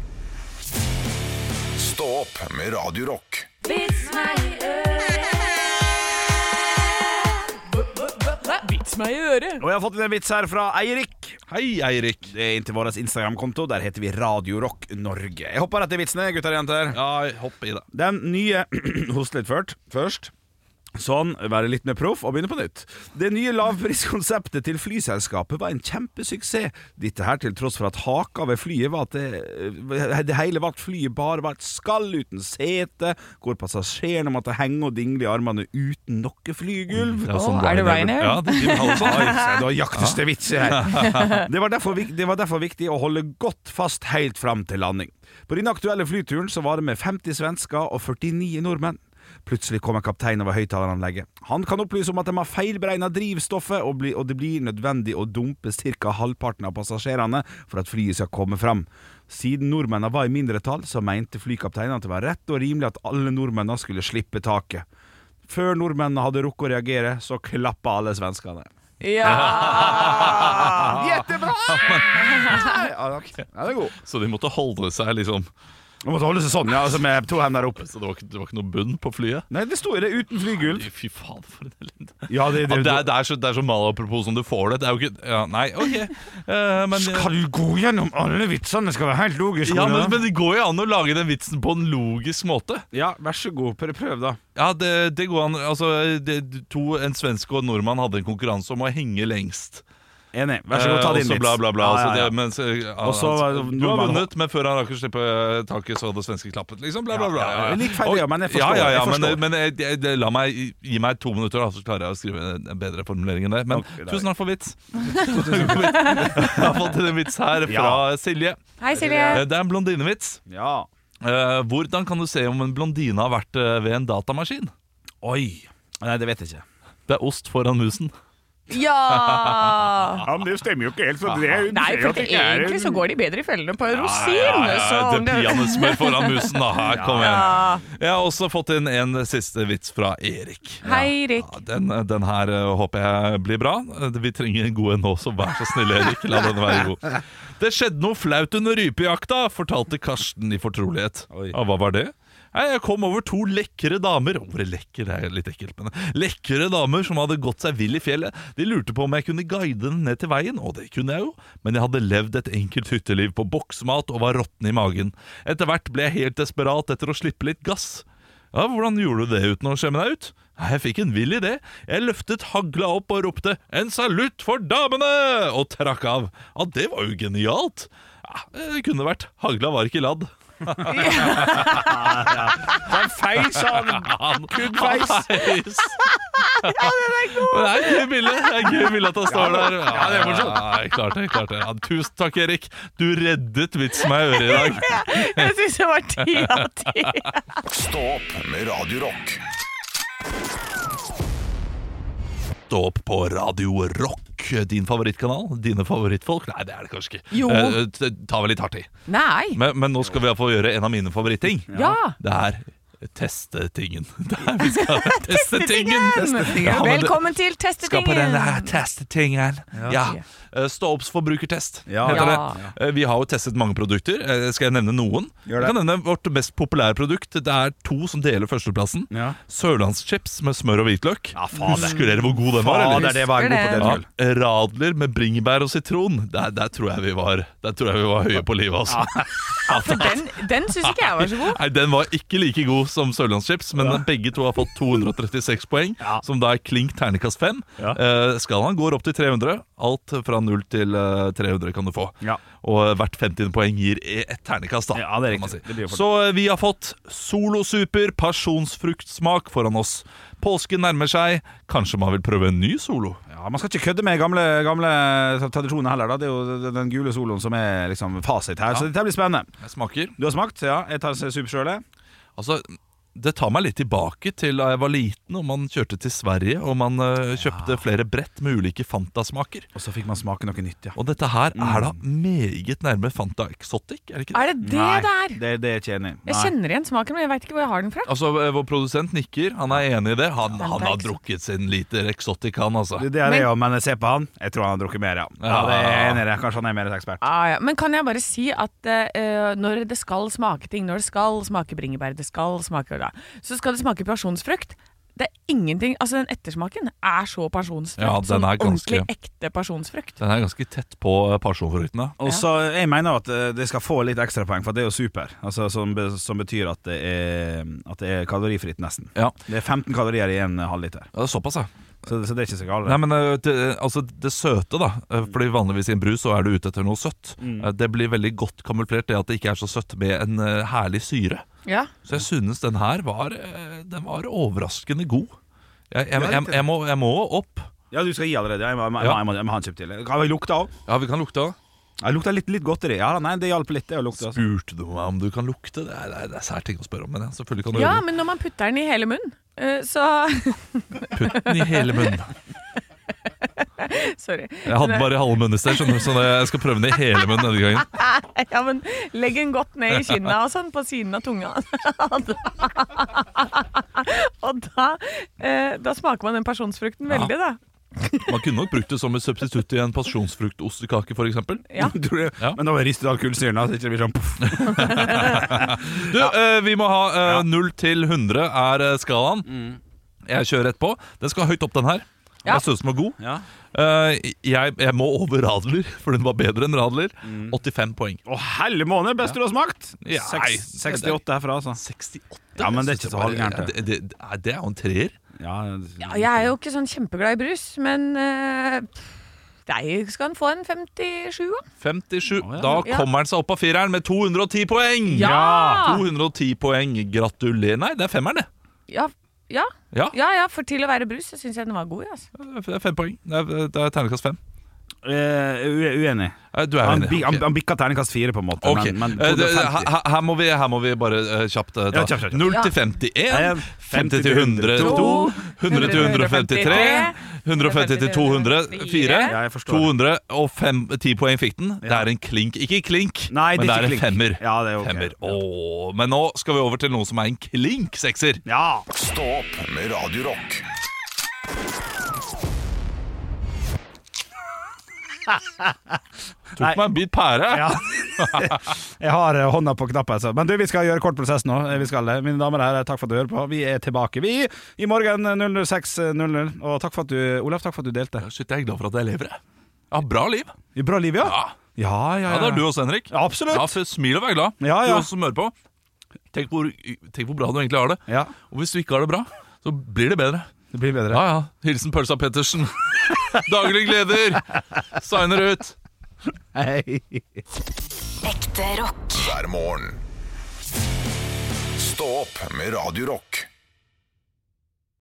[SPEAKER 1] Stå opp med Radio Rock.
[SPEAKER 3] Vits meg i øret.
[SPEAKER 4] Og jeg har fått en vits her fra Eirik.
[SPEAKER 2] Hei, Eirik.
[SPEAKER 4] Det er inntil vår Instagram-konto. Der heter vi Radio Rock Norge. Jeg hopper etter vitsene, gutter og jenter.
[SPEAKER 2] Ja, hopp i det.
[SPEAKER 4] Den nye Host litt ført, først. Sånn, være litt mer proff og begynne på nytt. Det nye lavpriskonseptet til flyselskapet var en kjempesuksess. Dette her til tross for at haka ved flyet var at det, det hele vart flyet bare var et skall uten sete, hvor passasjerene måtte henge og dingle i armene uten noe flygulv.
[SPEAKER 2] jo
[SPEAKER 3] Å, er Mm, sånn det
[SPEAKER 2] Ryanair-
[SPEAKER 3] Ryanair?
[SPEAKER 2] Ja, det de har også.
[SPEAKER 4] Oi, se, det var jakteste vitser her. Det var, derfor, vik- det var derfor viktig å holde godt fast helt fram til landing. På den aktuelle flyturen så var det med 50 svensker og 49 nordmenn. Plutselig kom en kaptein over høyttaleranlegget. Han kan opplyse om at de har feilberegna drivstoffet, og, bli, og det blir nødvendig å dumpe ca. halvparten av passasjerene for at flyet skal komme fram. Siden nordmennene var i mindretall, så mente flykapteinen at det var rett og rimelig at alle nordmennene skulle slippe taket. Før nordmennene hadde rukket å reagere, så klappa alle svenskene.
[SPEAKER 3] Ja.
[SPEAKER 4] Jättebra! Ja, ok. ja, det er god.
[SPEAKER 2] Så de måtte holde seg liksom
[SPEAKER 4] Du måtte holde seg sånn, ja, altså med to hender opp.
[SPEAKER 2] Så det var ikke, det var ikke noe bunn på flyet?
[SPEAKER 4] Nei, det sto jo det uten flygulv.
[SPEAKER 2] Fy faen, for en elende.
[SPEAKER 4] Ja, det,
[SPEAKER 2] Ja, det, er, det, er så, det er så malapropos som du får det. Det er jo ikke ja, Nei, OK. Eh, men,
[SPEAKER 4] Skal du gå gjennom alle vitsene? Det Skal være helt logisk.
[SPEAKER 2] ja, men,
[SPEAKER 4] Olav.
[SPEAKER 2] men det går jo an å lage den vitsen på en logisk måte.
[SPEAKER 4] ja, vær så god, prøv, prøv da.
[SPEAKER 2] Ja, det, det går an Altså, det, to, En svensk og en nordmann hadde en konkurranse om å henge lengst.
[SPEAKER 4] Enig. Vær så god, ta
[SPEAKER 2] Eh,
[SPEAKER 4] din
[SPEAKER 2] og så
[SPEAKER 4] vits.
[SPEAKER 2] bla, bla, bla.
[SPEAKER 4] Ja,
[SPEAKER 2] så
[SPEAKER 4] ja, ja.
[SPEAKER 2] det, mens, eh, ja,
[SPEAKER 4] Og så
[SPEAKER 2] altså,
[SPEAKER 4] var
[SPEAKER 2] du
[SPEAKER 4] det
[SPEAKER 2] har
[SPEAKER 4] nordmannen-
[SPEAKER 2] vunnet, men før han rakk å slippe taket, så hadde svensken klappet. Liksom, bla, bla, bla.
[SPEAKER 4] Ja, ja, ja. Litt feil,
[SPEAKER 2] Og-
[SPEAKER 4] ja, men jeg
[SPEAKER 2] Ja,
[SPEAKER 4] forstår,
[SPEAKER 2] ja, ja,
[SPEAKER 4] jeg forstår.
[SPEAKER 2] Men, men jeg, jeg, det- la meg, gi meg to minutter, da, så klarer jeg å skrive en- en bedre formulering enn det. Men
[SPEAKER 4] Ok, da.
[SPEAKER 2] tusen takk for vits. Tusen takk for vits. Jeg har fått en vits her fra Silje.
[SPEAKER 3] Hei, Silje.
[SPEAKER 2] Eh, Det er en blondinevits.
[SPEAKER 4] Ja.
[SPEAKER 2] Eh, Hvordan kan du se om en blondine har vært eh, ved en datamaskin?
[SPEAKER 4] Oi. Nei, det vet jeg ikke.
[SPEAKER 2] Det er ost foran musen.
[SPEAKER 3] Ja!
[SPEAKER 4] Ja, men det stemmer jo ikke helt, for det er jo
[SPEAKER 3] Nei, for det, egentlig så går de bedre i fellene på en rosin. så om
[SPEAKER 2] det er peanøttsmør foran musen, da. Her kommer jeg.
[SPEAKER 3] Ja.
[SPEAKER 2] Jeg har også fått inn en siste vits fra Erik.
[SPEAKER 3] Hei, Erik.
[SPEAKER 2] Ja, den, den her eh, håper jeg blir bra. Eh, Vi trenger en god en nå, så vær så snill, Erik. La den være god. Det skjedde noe flaut under rypejakta, fortalte Karsten i fortrolighet.
[SPEAKER 4] Oi.
[SPEAKER 2] Ja, hva var det? Nei, Jeg kom over to lekre damer Ordet lekker er litt ekkelt, men eh, Lekre damer som hadde gått seg vill i fjellet. De lurte på om jeg kunne guide dem ned til veien, og det kunne jeg jo, men jeg hadde levd et enkelt hytteliv på boksmat og var råtten i magen. Etter hvert ble jeg helt desperat etter å slippe litt gass. Ja, hvordan gjorde du det uten å skjemme deg ut? Nei, jeg fikk en vill idé. Jeg løftet hagla opp og ropte 'En salutt for damene!' og trakk av. Ja, det var jo genialt. Ja, det kunne vært. Hagla var ikke ladd.
[SPEAKER 4] feis, han.
[SPEAKER 2] Han
[SPEAKER 4] Kuddfeis.
[SPEAKER 2] feis. Det er gøy bilde Det er gøy bilde at han står der. Ja, det er morsomt. klart det. klart det ja, Tusen takk, Erik. Du reddet vitsen meg i øret i dag.
[SPEAKER 3] Jeg syns det var ti av ti.
[SPEAKER 1] Stå opp med Radio Rock.
[SPEAKER 2] Stå opp på Radio Rock, din favorittkanal. Dine favorittfolk. Nei, det er det kanskje ikke.
[SPEAKER 3] Jo.
[SPEAKER 2] Eh, t- ta vel litt hardt i.
[SPEAKER 3] Nei.
[SPEAKER 2] Men, men nå skal vi iallfall gjøre en av mine favoritting.
[SPEAKER 3] Ja.
[SPEAKER 2] Det er teste tingen. Det er, vi skal teste tingen! Ja, men det-
[SPEAKER 3] Velkommen til
[SPEAKER 2] Skal på den
[SPEAKER 3] testetingen!
[SPEAKER 2] der testetingen. Ja. Eh, Stå opps forbrukertest,
[SPEAKER 4] Ja.
[SPEAKER 2] heter
[SPEAKER 3] Ja.
[SPEAKER 2] det. Eh, Vi har jo testet mange produkter. Eh, Skal jeg nevne noen?
[SPEAKER 4] Gjør det.
[SPEAKER 2] Jeg kan nevne vårt mest populære produkt. Det er to som deler førsteplassen.
[SPEAKER 4] Ja.
[SPEAKER 2] Sørlandschips med smør og hvitløk.
[SPEAKER 4] Ja, fader.
[SPEAKER 2] Husker dere hvor god den var? eller?
[SPEAKER 4] Fader, det var en god
[SPEAKER 3] Husker det.
[SPEAKER 2] Ja,
[SPEAKER 4] potetgull.
[SPEAKER 2] radler med bringebær og sitron. Der, der, tror jeg vi var, der tror jeg vi var høye på livet, altså.
[SPEAKER 3] For den, den syns ikke jeg var så god.
[SPEAKER 2] Nei, Den var ikke like god som Sørlandschips, men begge to har fått 236 poeng, som da er klink Eh, ternekast 5.
[SPEAKER 4] Ja.
[SPEAKER 2] skalaen går opp til 300. Alt fra 0 til eh, 300 kan du få.
[SPEAKER 4] Ja.
[SPEAKER 2] Og hvert 50. poeng gir e- et ternekast, da.
[SPEAKER 4] Ja, det er
[SPEAKER 2] kan man
[SPEAKER 4] riktig.
[SPEAKER 2] si.
[SPEAKER 4] Det blir jo for-
[SPEAKER 2] Så eh, vi har fått Solo Super pasjonsfruktsmak foran oss. Påsken nærmer seg. Kanskje man vil prøve en ny Solo?
[SPEAKER 4] Ja, Man skal ikke kødde med gamle, gamle tradisjoner heller. Da. Det er jo den gule soloen som er liksom fasit her. Så dette blir spennende.
[SPEAKER 2] Jeg smaker.
[SPEAKER 4] Du har smakt? Ja, jeg tar supersjølet.
[SPEAKER 2] Altså, det tar meg litt tilbake til da jeg var liten og man kjørte til Sverige og man eh, kjøpte flere brett med ulike Fanta-smaker.
[SPEAKER 4] Og så fikk man smake noe nytt, ja.
[SPEAKER 2] Og dette her er da
[SPEAKER 3] Mm.
[SPEAKER 2] meget nærme Fanta Exotic, er det ikke det?
[SPEAKER 3] Er det det der?
[SPEAKER 4] Det, det er jeg ikke enig i.
[SPEAKER 3] Jeg
[SPEAKER 4] Nei.
[SPEAKER 3] kjenner igjen smaken, men jeg veit ikke hvor jeg har den fra.
[SPEAKER 2] Altså, eh, Vår produsent nikker, han er enig i det. Han,
[SPEAKER 3] Fanta
[SPEAKER 2] han har
[SPEAKER 3] Exotic.
[SPEAKER 2] drukket sin liter Exotic, han altså.
[SPEAKER 4] Det, det er det,
[SPEAKER 3] Men-
[SPEAKER 4] ja, men jeg ser på han. Jeg tror han har drukket mer, ja. ja det er jeg enig i det. Kanskje han er mer ekspert.
[SPEAKER 3] Ah, ja. Men kan jeg bare si at eh, når det skal smake ting, når det skal smake bringebær, det skal smake da, så skal det smake pasjonsfrukt. Det er ingenting, altså Den ettersmaken er så pasjonsfrukt.
[SPEAKER 2] Ja, den
[SPEAKER 3] som
[SPEAKER 2] er ganske-
[SPEAKER 3] Ordentlig ekte pasjonsfrukt.
[SPEAKER 2] Den er ganske tett på eh, pasjonfrukten. da.
[SPEAKER 4] Og så Jeg mener at eh, det skal få litt ekstrapoeng, for det er jo super. Altså, som, be- som betyr at det, er, at det er kalorifritt, nesten.
[SPEAKER 2] Ja,
[SPEAKER 4] Det er 15 kalorier i en halvliter.
[SPEAKER 2] det er såpass, ja.
[SPEAKER 4] Så, så det er ikke så
[SPEAKER 2] Nei,
[SPEAKER 4] galt.
[SPEAKER 2] men eh, det, altså, det søte, da.
[SPEAKER 3] Mm.
[SPEAKER 2] eh, Fordi vanligvis i en brus så er du ute etter noe søtt. Eh, Det blir veldig godt kamuflert, det at det ikke er så søtt, med en eh, herlig syre.
[SPEAKER 3] Ja.
[SPEAKER 2] Så jeg synes den her var, eh, den var overraskende god. Jeg, jeg, jeg, jeg, må, jeg må opp.
[SPEAKER 4] Ja, du skal gi allerede. Jeg må, jeg må,
[SPEAKER 2] Ja.
[SPEAKER 4] jeg må, jeg må ha en chip til. Kan jeg lukte òg?
[SPEAKER 2] Ja, vi kan lukte òg.
[SPEAKER 4] Jeg lukta litt, litt godteri. Ja, nei, det hjalp litt, det å lukte. Altså.
[SPEAKER 2] Spurte du meg om du kan lukte? Det er, det er, det er sært ting å spørre om, men ja, selvfølgelig kan du
[SPEAKER 3] ja,
[SPEAKER 2] gjøre det.
[SPEAKER 3] men når man putter den i hele munnen, eh, så
[SPEAKER 2] Putt den i hele munnen.
[SPEAKER 3] Sorry.
[SPEAKER 2] Jeg hadde den bare i halve munnen i sted, skjønner du, så det, jeg skal prøve den i hele munnen denne gangen.
[SPEAKER 3] Ja, men legg den godt ned i kinna og sånn, på siden av tunga. Og da- og da, eh, da smaker man den pasjonsfrukten
[SPEAKER 2] Ja.
[SPEAKER 3] veldig, da.
[SPEAKER 2] Man kunne nok brukt det som et substitutt i en pasjonsfruktostekake, f.eks.
[SPEAKER 3] Ja.
[SPEAKER 4] Tror du-
[SPEAKER 2] Ja.
[SPEAKER 4] Men da var ristet all kullsyren, da, så ikke det blir sånn poff.
[SPEAKER 2] Du, eh, vi må ha eh, 0 til 100 er eh, skalaen. Jeg kjører rett på. Den skal høyt opp, den her.
[SPEAKER 3] Mm. Ja.
[SPEAKER 2] Jeg synes den var god.
[SPEAKER 4] Ja.
[SPEAKER 2] Eh, jeg, jeg må over Radler, for den var bedre enn Radler.
[SPEAKER 4] Mm.
[SPEAKER 2] 85 poeng.
[SPEAKER 4] Å, helle måned! Best du har smakt!
[SPEAKER 2] Ja,
[SPEAKER 4] Seks-
[SPEAKER 2] nei,
[SPEAKER 4] 68 herfra, altså.
[SPEAKER 2] 68?
[SPEAKER 4] Ja, men det er ikke så
[SPEAKER 2] Jeg synes
[SPEAKER 4] halvgærent,
[SPEAKER 2] bare-
[SPEAKER 4] det.
[SPEAKER 2] Det, det, det er- det er jo en treer.
[SPEAKER 4] Ja,
[SPEAKER 3] Ja, jeg er jo ikke sånn kjempeglad i brus, men uh, deg skal han få en 57, da.
[SPEAKER 2] 57.
[SPEAKER 4] ja.
[SPEAKER 2] Da
[SPEAKER 3] Ja.
[SPEAKER 2] kommer han seg opp av fireren med 210 poeng!
[SPEAKER 3] Ja!
[SPEAKER 2] 210 poeng. Gratulerer. Nei, det er femmeren, det.
[SPEAKER 3] Ja, ja,
[SPEAKER 2] Ja,
[SPEAKER 3] ja, ja, for til å være brus så syns jeg den var god. ja, Altså.
[SPEAKER 2] det er fem poeng. Det er, det er terningkast fem.
[SPEAKER 4] Eh, ue- uenig.
[SPEAKER 2] Eh, Du er
[SPEAKER 4] Han,
[SPEAKER 2] enig.
[SPEAKER 4] bi- han,
[SPEAKER 2] ok.
[SPEAKER 4] han bikka terningkast fire, på en måte.
[SPEAKER 2] Ok,
[SPEAKER 4] Men, men
[SPEAKER 2] Eh, det-
[SPEAKER 4] 250.
[SPEAKER 2] her, her, må vi, her må vi bare eh, kjapt eh, ta
[SPEAKER 4] Ja, kjapt, kjapt, kjapt.
[SPEAKER 2] 0 til
[SPEAKER 3] Ja.
[SPEAKER 2] 51 50 til 102
[SPEAKER 3] To,
[SPEAKER 2] 100 til 153 150 til 204
[SPEAKER 4] ja, jeg forstår.
[SPEAKER 2] 200 og fem- 10 poeng fikk den Det er en klink, ikke klink
[SPEAKER 4] Nei,
[SPEAKER 2] Men det er en
[SPEAKER 4] ikke klink.
[SPEAKER 2] femmer,
[SPEAKER 4] Ja, det er ok.
[SPEAKER 2] femmer. Åh, Men nå skal vi over til noe som er en klink sekser
[SPEAKER 4] Ja.
[SPEAKER 1] Stå opp med Radio Rock.
[SPEAKER 2] Tok meg en bit pære
[SPEAKER 4] Ja. Jeg har eh, hånda på knappen. Altså. Men du, vi skal gjøre kort prosess nå. Eh, Vi skal det. Mine damer og herrer, takk for at du hører på. Vi er tilbake, vi, i morgen eh, 06.00. Og takk for at du, Olaf, takk for at du delte.
[SPEAKER 2] Shit, jeg er glad for at jeg lever jeg. Jeg har bra liv
[SPEAKER 4] Bra liv, ja?
[SPEAKER 2] Ja,
[SPEAKER 4] Ja, ja,
[SPEAKER 2] ja det er du også Henrik
[SPEAKER 4] Ja, absolutt.
[SPEAKER 2] Ja, for smil og vær glad
[SPEAKER 4] Ja, ja.
[SPEAKER 2] Du også som hører på tenk hvor, tenk hvor bra du egentlig har det
[SPEAKER 4] Ja,
[SPEAKER 2] Og hvis du ikke har det bra, så blir det bedre
[SPEAKER 4] det blir bedre.
[SPEAKER 2] Ja, ja. Hilsen Pølsa Pettersen. Daglig gleder! Signer ut.
[SPEAKER 4] Hei.
[SPEAKER 6] Ekte rock.
[SPEAKER 1] Hver morgen. Stå opp med Radio Rock.